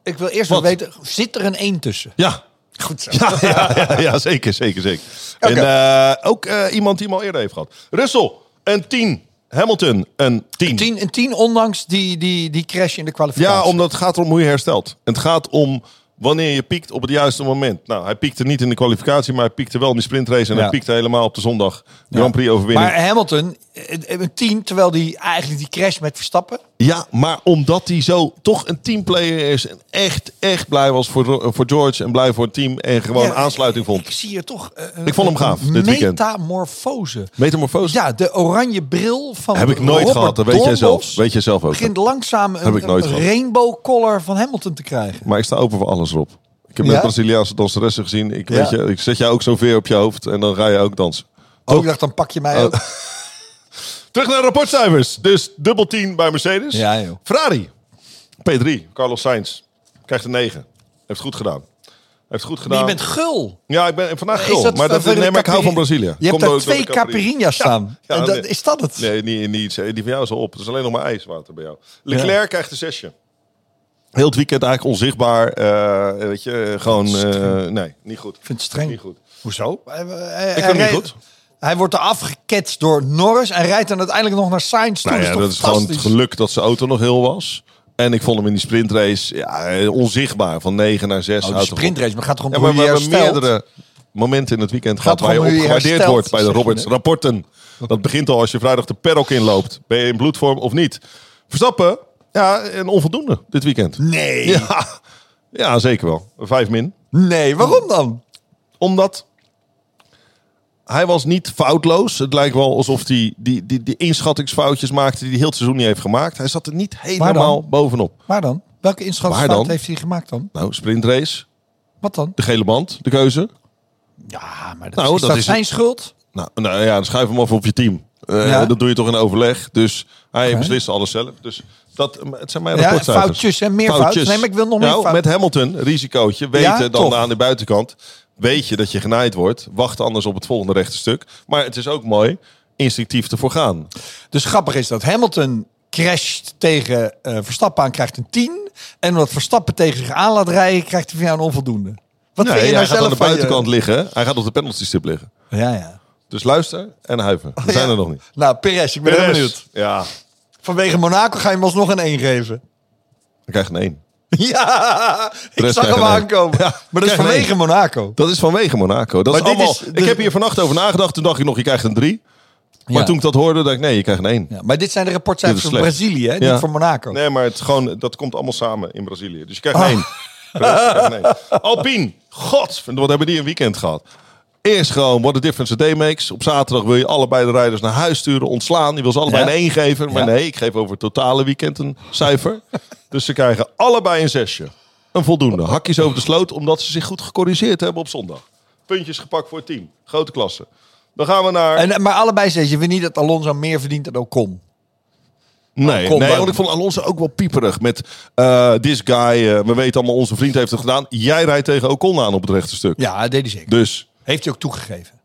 [SPEAKER 2] Ik wil eerst wel
[SPEAKER 3] Wat?
[SPEAKER 2] weten, zit er een 1 tussen?
[SPEAKER 3] Ja.
[SPEAKER 2] Goed zo.
[SPEAKER 3] Ja, ja, ja, <laughs> ja, zeker, zeker, zeker. En
[SPEAKER 2] Oké.
[SPEAKER 3] eh, ook eh, iemand die hem al eerder heeft gehad. Russell, een 10. Hamilton, een 10.
[SPEAKER 2] Tien, een 10 ondanks die, die, die crash in de kwalificatie.
[SPEAKER 3] Ja, omdat het gaat erom hoe je herstelt. Het gaat om wanneer je piekt op het juiste moment. Nou, hij piekte niet in de kwalificatie, maar hij piekte wel in de sprintrace. En
[SPEAKER 2] Ja.
[SPEAKER 3] hij piekte helemaal op de zondag. Grand Prix overwinning.
[SPEAKER 2] Maar Hamilton, eh, eh, een 10, terwijl die eigenlijk die crash met Verstappen.
[SPEAKER 3] Ja, maar omdat hij zo toch een teamplayer is. En echt, echt blij was voor, Ro- voor George. En blij voor het team. En gewoon
[SPEAKER 2] Ja,
[SPEAKER 3] aansluiting
[SPEAKER 2] Ik
[SPEAKER 3] vond.
[SPEAKER 2] zie je toch. eh, een-
[SPEAKER 3] Ik vond hem
[SPEAKER 2] een
[SPEAKER 3] gaaf, dit weekend.
[SPEAKER 2] Metamorfose.
[SPEAKER 3] Metamorfose?
[SPEAKER 2] Ja, de oranje bril van.
[SPEAKER 3] Heb ik nooit
[SPEAKER 2] Robert
[SPEAKER 3] gehad, dat weet jij
[SPEAKER 2] Dornbos
[SPEAKER 3] zelf. Weet jij zelf ook.
[SPEAKER 2] Begint langzaam een,
[SPEAKER 3] Heb ik nooit
[SPEAKER 2] een
[SPEAKER 3] gehad.
[SPEAKER 2] rainbow collar van Hamilton te krijgen.
[SPEAKER 3] Maar ik sta open voor alles, Rob. Ik heb
[SPEAKER 2] Ja?
[SPEAKER 3] net Braziliaanse danseressen gezien. Ik,
[SPEAKER 2] Ja.
[SPEAKER 3] weet je, ik zet jou ook zo'n veer op je hoofd en dan ga je ook nou. dansen.
[SPEAKER 2] Oh, ik dacht, dan pak je mij ook.
[SPEAKER 3] Terug naar de rapportcijfers. Dus dubbel 10 bij Mercedes.
[SPEAKER 2] Ja, joh.
[SPEAKER 3] Ferrari. P3, Carlos Sainz. Krijgt een 9. Heeft goed gedaan. Heeft goed
[SPEAKER 2] Maar
[SPEAKER 3] gedaan.
[SPEAKER 2] je bent gul.
[SPEAKER 3] Ja, ik ben vandaag
[SPEAKER 2] Is
[SPEAKER 3] gul.
[SPEAKER 2] dat
[SPEAKER 3] maar dat,
[SPEAKER 2] van de
[SPEAKER 3] nee, maar ik hou
[SPEAKER 2] Capri-
[SPEAKER 3] van Brazilië.
[SPEAKER 2] Je hebt
[SPEAKER 3] Komt
[SPEAKER 2] daar
[SPEAKER 3] ook door de
[SPEAKER 2] twee
[SPEAKER 3] Capri.
[SPEAKER 2] Caipirinha's staan.
[SPEAKER 3] Ja,
[SPEAKER 2] en dat,
[SPEAKER 3] nee.
[SPEAKER 2] Is dat het?
[SPEAKER 3] Nee, niet, niet, eh, die van jou is al op. Er is alleen nog maar ijswater bij jou. Leclerc krijgt een zesje. Heel het weekend eigenlijk onzichtbaar. eh, weet je, eh, gewoon... eh, nee, niet goed.
[SPEAKER 2] Ik vind het streng.
[SPEAKER 3] Niet goed.
[SPEAKER 2] Hoezo? Hij, eh, hij-
[SPEAKER 3] Ik
[SPEAKER 2] hij
[SPEAKER 3] vind het
[SPEAKER 2] reed-
[SPEAKER 3] niet goed.
[SPEAKER 2] Hij wordt er afgeketst door Norris en rijdt dan uiteindelijk nog naar Sainz toe.
[SPEAKER 3] Nou ja,
[SPEAKER 2] dat is,
[SPEAKER 3] dat is gewoon het geluk dat zijn auto nog heel was. En ik vond hem in die sprintrace ja, eh, onzichtbaar. Van 9 naar 6.
[SPEAKER 2] Oh, die sprintrace, maar gaat er om
[SPEAKER 3] Ja,
[SPEAKER 2] hoe
[SPEAKER 3] maar
[SPEAKER 2] je
[SPEAKER 3] we hebben
[SPEAKER 2] herstelt.
[SPEAKER 3] meerdere momenten in het weekend gehad
[SPEAKER 2] toch
[SPEAKER 3] waar je
[SPEAKER 2] om hoe je
[SPEAKER 3] opgewaardeerd
[SPEAKER 2] herstelt,
[SPEAKER 3] wordt bij de
[SPEAKER 2] zeg je,
[SPEAKER 3] Roberts
[SPEAKER 2] hè?
[SPEAKER 3] rapporten. Dat begint al als je vrijdag de paddock inloopt. Ben je in bloedvorm of niet? Verstappen, ja, een onvoldoende dit weekend.
[SPEAKER 2] Nee.
[SPEAKER 3] Ja, ja zeker wel. Vijf min.
[SPEAKER 2] Nee, waarom dan?
[SPEAKER 3] Omdat hij was niet foutloos. Het lijkt wel alsof hij die, die, die inschattingsfoutjes maakte die hij heel het seizoen niet heeft gemaakt. Hij zat er niet helemaal bovenop.
[SPEAKER 2] Waar dan? Welke
[SPEAKER 3] Waar
[SPEAKER 2] inschattingsfout
[SPEAKER 3] dan?
[SPEAKER 2] heeft hij gemaakt dan?
[SPEAKER 3] Nou, sprintrace,
[SPEAKER 2] Wat dan?
[SPEAKER 3] de gele band, de keuze.
[SPEAKER 2] Ja, maar dat,
[SPEAKER 3] Nou,
[SPEAKER 2] is
[SPEAKER 3] dat
[SPEAKER 2] dat
[SPEAKER 3] is
[SPEAKER 2] zijn
[SPEAKER 3] het.
[SPEAKER 2] schuld?
[SPEAKER 3] Nou, nou ja, dan schuif hem af op je team. Eh,
[SPEAKER 2] Ja.
[SPEAKER 3] Dat doe je toch in overleg. Dus hij
[SPEAKER 2] Oké.
[SPEAKER 3] beslist alles zelf. Dus dat, het zijn mijn
[SPEAKER 2] Ja,
[SPEAKER 3] rapportcijfers.
[SPEAKER 2] foutjes en meer fout. Nee, maar ik wil nog meer
[SPEAKER 3] nou,
[SPEAKER 2] fout.
[SPEAKER 3] Met Hamilton, risicootje. Weten
[SPEAKER 2] Ja,
[SPEAKER 3] dan
[SPEAKER 2] toch.
[SPEAKER 3] aan de buitenkant. Weet je dat je genaaid wordt. Wacht anders op het volgende rechte stuk. Maar het is ook mooi instinctief ervoor gaan.
[SPEAKER 2] Dus grappig is dat Hamilton crasht tegen eh, Verstappen aan, krijgt een 10. En omdat Verstappen tegen zich aan laat rijden, krijgt hij van jou een onvoldoende. Wat
[SPEAKER 3] Nee,
[SPEAKER 2] vind je
[SPEAKER 3] hij
[SPEAKER 2] nou
[SPEAKER 3] gaat
[SPEAKER 2] zelf
[SPEAKER 3] aan de
[SPEAKER 2] van je-
[SPEAKER 3] buitenkant liggen. Hij gaat op de penalty stip liggen.
[SPEAKER 2] Ja, ja.
[SPEAKER 3] Dus luister en huiver. We zijn er nog niet.
[SPEAKER 2] Nou, Perez, ik ben heel
[SPEAKER 3] Perez.
[SPEAKER 2] benieuwd.
[SPEAKER 3] Ja,
[SPEAKER 2] Vanwege Monaco ga je hem alsnog een 1 geven. <laughs>
[SPEAKER 3] ik krijg een 1.
[SPEAKER 2] Ja, ik
[SPEAKER 3] rest
[SPEAKER 2] zag
[SPEAKER 3] krijgen
[SPEAKER 2] hem
[SPEAKER 3] we een.
[SPEAKER 2] aankomen.
[SPEAKER 3] Ja,
[SPEAKER 2] maar dat is
[SPEAKER 3] krijgen we een.
[SPEAKER 2] vanwege Monaco.
[SPEAKER 3] Dat is vanwege Monaco. Dat
[SPEAKER 2] Maar
[SPEAKER 3] is
[SPEAKER 2] dit
[SPEAKER 3] allemaal,
[SPEAKER 2] is-
[SPEAKER 3] ik
[SPEAKER 2] dus-
[SPEAKER 3] heb hier vannacht over nagedacht. Toen dacht ik nog, je krijgt een 3. Maar
[SPEAKER 2] Ja.
[SPEAKER 3] toen ik dat hoorde, dacht ik, nee, je krijgt een 1.
[SPEAKER 2] Ja, maar dit zijn de rapportcijfers
[SPEAKER 3] Dit
[SPEAKER 2] voor
[SPEAKER 3] is slecht.
[SPEAKER 2] Brazilië, hè?
[SPEAKER 3] Ja.
[SPEAKER 2] niet voor Monaco. Ah.
[SPEAKER 3] Nee, maar het is gewoon, dat komt allemaal samen in Brazilië. Dus je krijgt een 1. Perez, je krijgt een 1. Alpine, god, wat hebben die een weekend gehad. Eerst gewoon, what a difference a day makes. Op zaterdag wil je allebei de rijders naar huis sturen, ontslaan. Je wil ze allebei
[SPEAKER 2] Ja.
[SPEAKER 3] een 1 geven. Maar
[SPEAKER 2] Ja.
[SPEAKER 3] nee, ik geef over het totale weekend een cijfer. dus ze krijgen allebei een zesje. Een voldoende. Hakjes over de sloot, omdat ze zich goed gecorrigeerd hebben op zondag. Puntjes gepakt voor het team. Grote klasse. Dan gaan we naar...
[SPEAKER 2] En, eh, maar allebei zei je, vind niet dat Alonso meer verdient dan Ocon.
[SPEAKER 3] Nee,
[SPEAKER 2] Oh, Kom
[SPEAKER 3] nee
[SPEAKER 2] dan.
[SPEAKER 3] want ik vond Alonso ook wel pieperig met eh this guy. eh, we weten allemaal, onze vriend heeft het gedaan. Jij rijdt tegen Ocon aan op het rechte stuk.
[SPEAKER 2] Ja, dat deed hij zeker.
[SPEAKER 3] Dus,
[SPEAKER 2] Heeft hij ook toegegeven.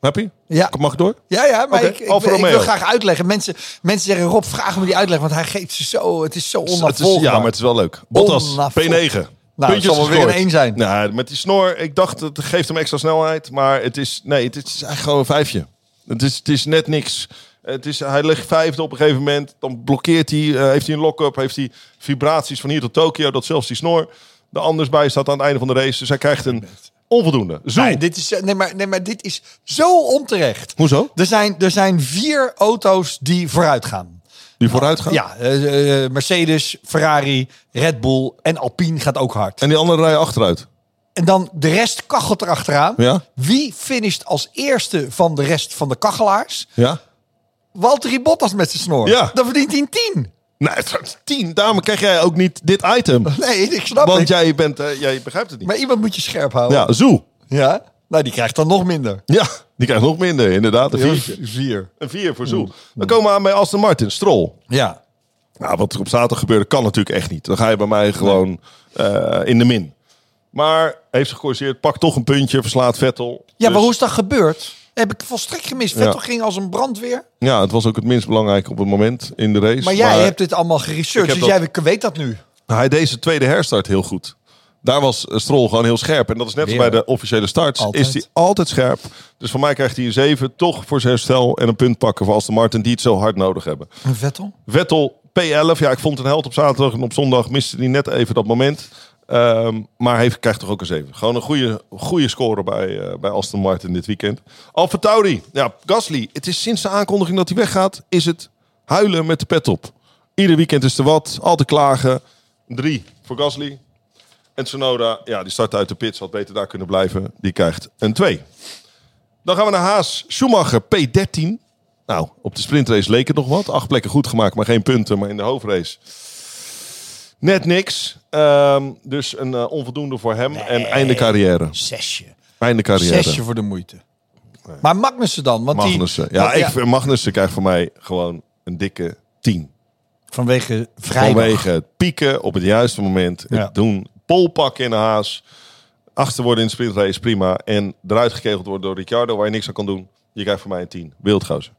[SPEAKER 3] heb je?
[SPEAKER 2] Ja.
[SPEAKER 3] Mag ik door?
[SPEAKER 2] Ja, ja, maar
[SPEAKER 3] Oké,
[SPEAKER 2] ik, ik,
[SPEAKER 3] Alfa
[SPEAKER 2] ik wil
[SPEAKER 3] Romeo.
[SPEAKER 2] graag uitleggen. Mensen, mensen zeggen, Rob, vraag me die uitleg, want hij geeft ze zo, het is zo
[SPEAKER 3] Het is,
[SPEAKER 2] onafvolgbaar.
[SPEAKER 3] ja, maar het is wel leuk. Bottas,
[SPEAKER 2] Onafvolg-
[SPEAKER 3] P9.
[SPEAKER 2] Nou, het zal wel weer
[SPEAKER 3] gescoord.
[SPEAKER 2] een één zijn.
[SPEAKER 3] Nou, met die snor, ik dacht, het geeft hem extra snelheid. Maar het is, nee, het is eigenlijk gewoon een vijfje. Het is, het is net niks. Het is, hij ligt vijfde op een gegeven moment. Dan blokkeert hij, eh, heeft hij een lock-up, heeft hij vibraties van hier tot Tokio. Dat zelfs die snor er anders bij staat aan het einde van de race. Dus hij krijgt een onvoldoende. Zo.
[SPEAKER 2] Nee, dit is, nee, maar, nee, maar dit is zo onterecht.
[SPEAKER 3] Hoezo?
[SPEAKER 2] Er zijn, er zijn vier auto's die vooruit gaan.
[SPEAKER 3] Die vooruit gaat.
[SPEAKER 2] Ja, eh, eh, Mercedes, Ferrari, Red Bull en Alpine gaat ook hard.
[SPEAKER 3] En die andere rijden achteruit.
[SPEAKER 2] En dan de rest kachelt erachteraan.
[SPEAKER 3] Ja.
[SPEAKER 2] Wie finisht als eerste van de rest van de kachelaars?
[SPEAKER 3] Ja?
[SPEAKER 2] Valtteri Bottas met zijn snor.
[SPEAKER 3] Ja.
[SPEAKER 2] Dan verdient hij een 10.
[SPEAKER 3] Nee, het is tien. Daarom krijg jij ook niet dit
[SPEAKER 2] <laughs>
[SPEAKER 3] item.
[SPEAKER 2] Nee, ik snap
[SPEAKER 3] Want
[SPEAKER 2] het.
[SPEAKER 3] jij, bent, eh, jij begrijpt het niet.
[SPEAKER 2] Maar iemand moet je scherp houden.
[SPEAKER 3] Ja, zo.
[SPEAKER 2] Ja? Nou, die krijgt dan nog minder.
[SPEAKER 3] Ja, die krijgt nog minder, inderdaad. Een viertje.
[SPEAKER 2] Vier. Mm.
[SPEAKER 3] Een vier voor Zoel. Dan komen we aan bij Aston Martin, Stroll.
[SPEAKER 2] Ja.
[SPEAKER 3] Nou, wat er op zaterdag gebeurde, kan natuurlijk echt niet. Dan ga je bij mij gewoon eh, in de min. Maar heeft ze gecorrigeerd, pakt toch een puntje, verslaat Vettel.
[SPEAKER 2] Ja,
[SPEAKER 3] Dus-
[SPEAKER 2] maar hoe is dat gebeurd? Heb ik volstrekt gemist.
[SPEAKER 3] Ja.
[SPEAKER 2] Vettel ging als een brandweer.
[SPEAKER 3] Ja, het was ook het minst belangrijke op het moment in de race.
[SPEAKER 2] Maar jij hebt dit allemaal geresearched.
[SPEAKER 3] Ik
[SPEAKER 2] Dus
[SPEAKER 3] heb
[SPEAKER 2] jij weet dat nu.
[SPEAKER 3] Hij deed zijn tweede herstart heel goed. Daar was eh, Stroll gewoon heel scherp. En dat is net als
[SPEAKER 2] Weer.
[SPEAKER 3] bij de officiële starts.
[SPEAKER 2] Altijd.
[SPEAKER 3] Is hij altijd scherp. Dus van mij krijgt hij een 7. Toch voor zijn herstel en een punt pakken voor Aston Martin. Die het zo hard nodig hebben.
[SPEAKER 2] Een Vettel?
[SPEAKER 3] Vettel P11. Ja, ik vond een held op zaterdag en op zondag miste hij net even dat moment. Ehm, maar hij krijgt toch ook een 7. Gewoon een goede, goede score bij, eh, bij Aston Martin dit weekend. Alfa Tauri. Ja, Gasly. Het is sinds de aankondiging dat hij weggaat, is het huilen met de pet op. Ieder weekend is er wat. Altijd klagen. Drie voor Gasly. En Tsunoda, ja, die start uit de pits. Had beter daar kunnen blijven. Die krijgt een 2. Dan gaan we naar Haas. Schumacher P13. Nou, op de sprintrace leek het nog wat. Acht plekken goed gemaakt, maar geen punten. Maar in de hoofdrace net niks. Ehm, dus een eh, onvoldoende voor hem. En einde carrière.
[SPEAKER 2] Zesje.
[SPEAKER 3] Einde carrière.
[SPEAKER 2] Zesje voor de moeite. Maar Magnussen dan? Want
[SPEAKER 3] Magnussen.
[SPEAKER 2] Die, Oh,
[SPEAKER 3] Ja,
[SPEAKER 2] want-
[SPEAKER 3] ik, vind- Magnussen krijgt van mij gewoon een dikke 10.
[SPEAKER 2] Vanwege vrijdag.
[SPEAKER 3] Vanwege het pieken op het juiste moment. Het
[SPEAKER 2] Ja.
[SPEAKER 3] doen. Pol pakken in de haas. Achter worden in de sprintrace, prima. En eruit gekegeld worden door Ricciardo, waar je niks aan kan doen. Je krijgt van mij een 10. Wildgozer.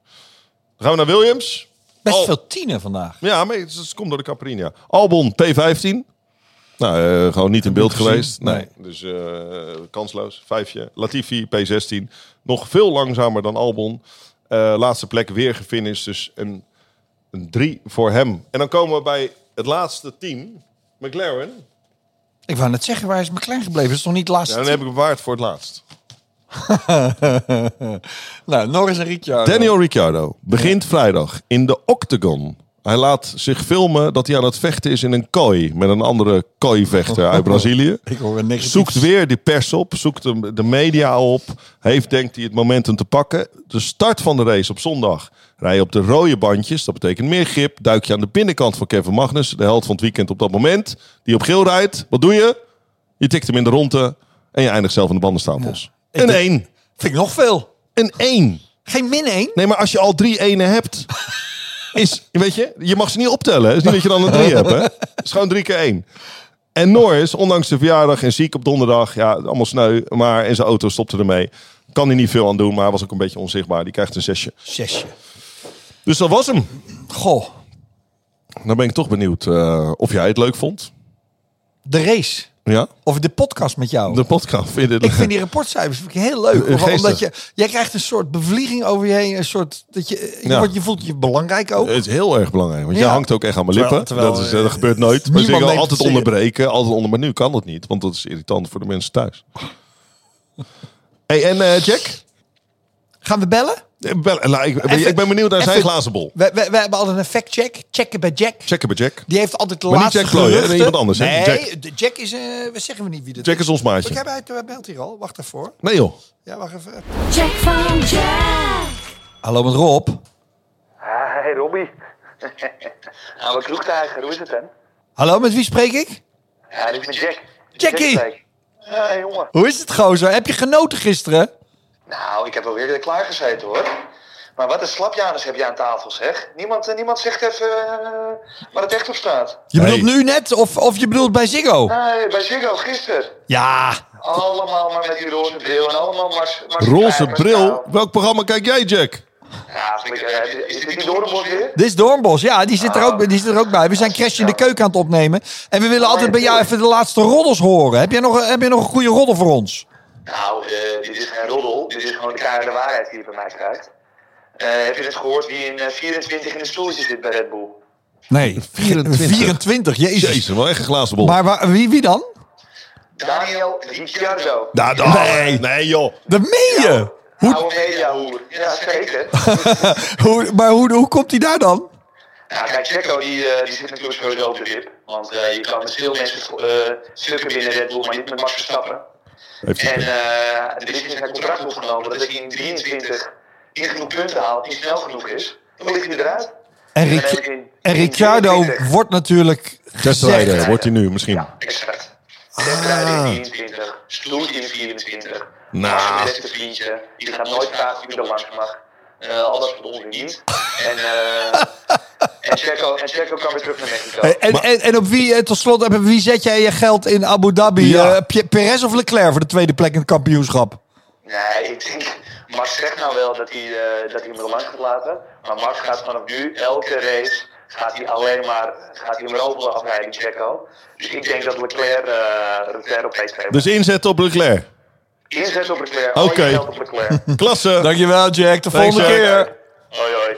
[SPEAKER 3] Dan gaan we naar Williams.
[SPEAKER 2] Best
[SPEAKER 3] Al-
[SPEAKER 2] veel tienen vandaag.
[SPEAKER 3] Ja, maar het, het komt door de Caprina. Albon P15. Nou, eh, gewoon niet in beeld
[SPEAKER 2] gezien.
[SPEAKER 3] geweest. Nee.
[SPEAKER 2] Nee.
[SPEAKER 3] Dus eh, kansloos. Vijfje. Latifi P16. Nog veel langzamer dan Albon. Eh, laatste plek weer gefinished. Dus een, een drie voor hem. En dan komen we bij het laatste team. McLaren.
[SPEAKER 2] Ik wou net zeggen, waar is McLaren gebleven? Dat is nog niet het
[SPEAKER 3] Ja,
[SPEAKER 2] laatste.
[SPEAKER 3] dan heb ik bewaard voor het laatst.
[SPEAKER 2] <laughs> Nou, Norris en Ricciardo.
[SPEAKER 3] Daniel Ricciardo begint vrijdag in de Octagon. Hij laat zich filmen dat hij aan het vechten is in een kooi. Met een andere kooivechter
[SPEAKER 2] <laughs>
[SPEAKER 3] uit Brazilië.
[SPEAKER 2] Ik hoor een negatief.
[SPEAKER 3] Zoekt weer de pers op, zoekt de, de media op. Heeft, denkt hij, het momentum te pakken. De start van de race op zondag. Rij je op de rode bandjes, dat betekent meer grip. Duik je aan de binnenkant van Kevin Magnus, de held van het weekend op dat moment. Die op geel rijdt. Wat doe je? Je tikt hem in de ronde en je eindigt zelf in de bandenstapels.
[SPEAKER 2] Ik
[SPEAKER 3] Een
[SPEAKER 2] denk-
[SPEAKER 3] één.
[SPEAKER 2] Vind ik nog veel.
[SPEAKER 3] Een één.
[SPEAKER 2] Geen min één.
[SPEAKER 3] Nee, maar als je al drie enen hebt, is, weet je, je mag ze niet optellen. Het is niet dat je dan een drie hebt, hè. Het is gewoon drie keer één. En Norris, ondanks de verjaardag en ziek op donderdag, ja, allemaal sneu, maar in zijn auto stopte ermee. Kan hij niet veel aan doen, maar hij was ook een beetje onzichtbaar. Die krijgt een zesje.
[SPEAKER 2] Zesje.
[SPEAKER 3] Dus dat was hem.
[SPEAKER 2] Goh,
[SPEAKER 3] Dan ben ik toch benieuwd eh, of jij het leuk vond.
[SPEAKER 2] de race.
[SPEAKER 3] Ja,
[SPEAKER 2] Of de podcast met jou.
[SPEAKER 3] de podcast vind je dit
[SPEAKER 2] Ik vind die rapportcijfers vind ik heel leuk.
[SPEAKER 3] Geestig.
[SPEAKER 2] Omdat je, jij krijgt een soort bevlieging over je heen. Een soort, dat je, je,
[SPEAKER 3] Ja. Eh,
[SPEAKER 2] wordt, je voelt je belangrijk ook.
[SPEAKER 3] Het is heel erg belangrijk, want jij
[SPEAKER 2] Ja.
[SPEAKER 3] hangt ook echt aan mijn
[SPEAKER 2] Terwijl-
[SPEAKER 3] lippen.
[SPEAKER 2] terwijl,
[SPEAKER 3] dat, is,
[SPEAKER 2] eh,
[SPEAKER 3] dat gebeurt nooit. Maar
[SPEAKER 2] niemand
[SPEAKER 3] ze zeggen
[SPEAKER 2] neemt
[SPEAKER 3] altijd
[SPEAKER 2] het serieus.
[SPEAKER 3] onderbreken, altijd onder. Maar nu kan dat niet, want dat is irritant voor de mensen thuis. Hey, en eh, Jack?
[SPEAKER 2] Gaan we bellen?
[SPEAKER 3] Eh, bel- eh, nou, ik, ben-
[SPEAKER 2] Even-
[SPEAKER 3] ik ben benieuwd naar zijn
[SPEAKER 2] even-
[SPEAKER 3] glazen bol.
[SPEAKER 2] We, we, we hebben altijd een fact-check. Checken bij Jack.
[SPEAKER 3] Checken bij Jack.
[SPEAKER 2] Die heeft altijd de
[SPEAKER 3] Maar niet
[SPEAKER 2] laatste
[SPEAKER 3] Jack Ploy, hè?
[SPEAKER 2] geruchten.
[SPEAKER 3] Nee, iemand anders, hè?
[SPEAKER 2] Nee,
[SPEAKER 3] Jack.
[SPEAKER 2] de Jack is... eh we zeggen we niet wie dat
[SPEAKER 3] Jack is ons maatje.
[SPEAKER 2] Kijk, hij hij belt hier al. Wacht daarvoor.
[SPEAKER 3] Nee joh.
[SPEAKER 2] Ja, wacht even.
[SPEAKER 4] Jack van Jack.
[SPEAKER 2] Hallo met Rob.
[SPEAKER 6] Ah, Hey <laughs> Robby. Oude kroegtijger, hoe is het dan?
[SPEAKER 2] Hallo, met wie spreek ik?
[SPEAKER 6] Ja, dit is met Jack.
[SPEAKER 2] Jackie!
[SPEAKER 6] Jack spreekt. Ja, jongen.
[SPEAKER 2] Hoe is het, gozer? Heb je genoten gisteren?
[SPEAKER 6] Nou, ik heb wel weer klaargezeten hoor. Maar wat een slapjanus heb je aan tafel zeg. Niemand, eh, niemand zegt even eh, waar het echt op staat.
[SPEAKER 2] Je
[SPEAKER 3] Hey.
[SPEAKER 2] bedoelt nu net of, of je bedoelt bij Ziggo?
[SPEAKER 6] Nee, bij Ziggo gisteren.
[SPEAKER 2] Ja.
[SPEAKER 6] Allemaal maar met die roze bril en allemaal maar... maar
[SPEAKER 3] Roze
[SPEAKER 6] maar-
[SPEAKER 3] bril.
[SPEAKER 6] nou,
[SPEAKER 3] Welk programma kijk jij, Jack?
[SPEAKER 6] Ja, vind ik, eh, is dit niet Doornbos weer?
[SPEAKER 2] Dit is Doornbos. Ja, die zit, er ook, die zit er ook bij. We zijn Crash in de keuken aan het opnemen. En we willen altijd bij jou even de laatste roddels horen. Heb jij nog, heb jij nog een goede roddel voor ons?
[SPEAKER 6] Nou, eh, dit is geen roddel. Dit is gewoon de keiharde waarheid die je bij mij krijgt. Eh, heb je net gehoord wie in eh, 24 in een stoeltje zit bij Red Bull?
[SPEAKER 2] <laughs> Nee.
[SPEAKER 3] 24.
[SPEAKER 2] 24, jezus.
[SPEAKER 3] Jezus, wel echt een glazen bol.
[SPEAKER 2] Maar waar- wie, wie dan?
[SPEAKER 6] Daniel Ricciardo.
[SPEAKER 3] Nou, dan- nee. joh.
[SPEAKER 2] Dat meen je!
[SPEAKER 6] Oude mediahoer. Ja, zeker. <laughs>
[SPEAKER 2] Hoe, maar hoe, hoe komt hij daar dan?
[SPEAKER 6] nou, kijk, Checo die, eh, die zit natuurlijk sowieso op de wip. Want eh, je kan met veel mensen eh stukken binnen Red Bull, maar niet met Max Verstappen.
[SPEAKER 3] Heeft hij-
[SPEAKER 6] En eh, er is in zijn contract opgenomen dat als hij in 23 niet genoeg punten haalt, niet snel genoeg is, dan ligt hij eruit.
[SPEAKER 2] En,
[SPEAKER 6] Dan
[SPEAKER 2] Ric-
[SPEAKER 6] heb je in-
[SPEAKER 2] en
[SPEAKER 6] in
[SPEAKER 2] Ricciardo
[SPEAKER 6] 23.
[SPEAKER 2] wordt natuurlijk gezegd...
[SPEAKER 3] Testrijder wordt hij nu misschien.
[SPEAKER 6] Exact. Ah. in 24, Sloot in 24.
[SPEAKER 3] Nou.
[SPEAKER 6] Als je beste vriendje, die gaat nooit vragen wie er langs mag. Eh, al dat soort onzin niet.
[SPEAKER 3] <laughs>
[SPEAKER 6] En, eh en, Checo, en Checo kan weer terug naar Mexico.
[SPEAKER 2] Hey, En, en, en op wie, eh, tot slot, op wie zet jij je geld in Abu Dhabi?
[SPEAKER 3] Ja.
[SPEAKER 2] Eh, P- Perez of Leclerc voor de tweede plek in het kampioenschap?
[SPEAKER 6] Nee, ik denk, Max zegt nou wel dat hij, eh, dat hij hem er langs gaat laten. Maar Max gaat vanaf nu, elke race, gaat hij alleen maar, gaat hij hem erover afrijden, Checo. Dus ik denk dat Leclerc, eh Leclerc op P2 wordt.
[SPEAKER 3] Dus inzetten op Leclerc.
[SPEAKER 6] Inzet op Leclerc, al je
[SPEAKER 3] Oké.
[SPEAKER 6] geld op
[SPEAKER 3] <laughs>
[SPEAKER 6] Leclerc.
[SPEAKER 3] Klasse.
[SPEAKER 2] Dankjewel, Jack. De
[SPEAKER 3] Thanks,
[SPEAKER 2] volgende
[SPEAKER 3] Jack.
[SPEAKER 2] keer.
[SPEAKER 6] hoi hoi.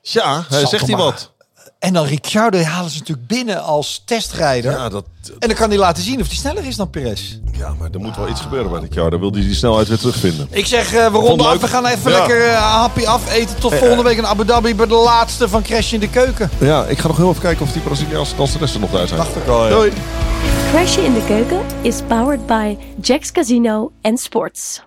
[SPEAKER 3] Ja, hij zegt hij
[SPEAKER 2] maar.
[SPEAKER 3] wat?
[SPEAKER 2] En dan Ricciardo halen ze natuurlijk binnen als testrijder.
[SPEAKER 3] Ja, dat,
[SPEAKER 2] En dan kan hij laten zien of hij sneller is dan Perez.
[SPEAKER 3] ja, maar er moet wel iets gebeuren bij dit jaar. Dan wil hij die snelheid weer terugvinden.
[SPEAKER 2] Ik zeg, eh, we
[SPEAKER 3] het
[SPEAKER 2] ronden af.
[SPEAKER 3] leuk.
[SPEAKER 2] We gaan even
[SPEAKER 3] Ja.
[SPEAKER 2] lekker eh, happy afeten. Tot volgende week in Abu Dhabi bij de laatste van Crash in de Keuken.
[SPEAKER 3] Ja, ik ga nog heel even kijken of die Braziliaanse danseressen nog daar zijn.
[SPEAKER 2] Dacht ik al, ja.
[SPEAKER 3] Doei.
[SPEAKER 1] Crashje in the Keuken is powered by Jack's Casino and Sports.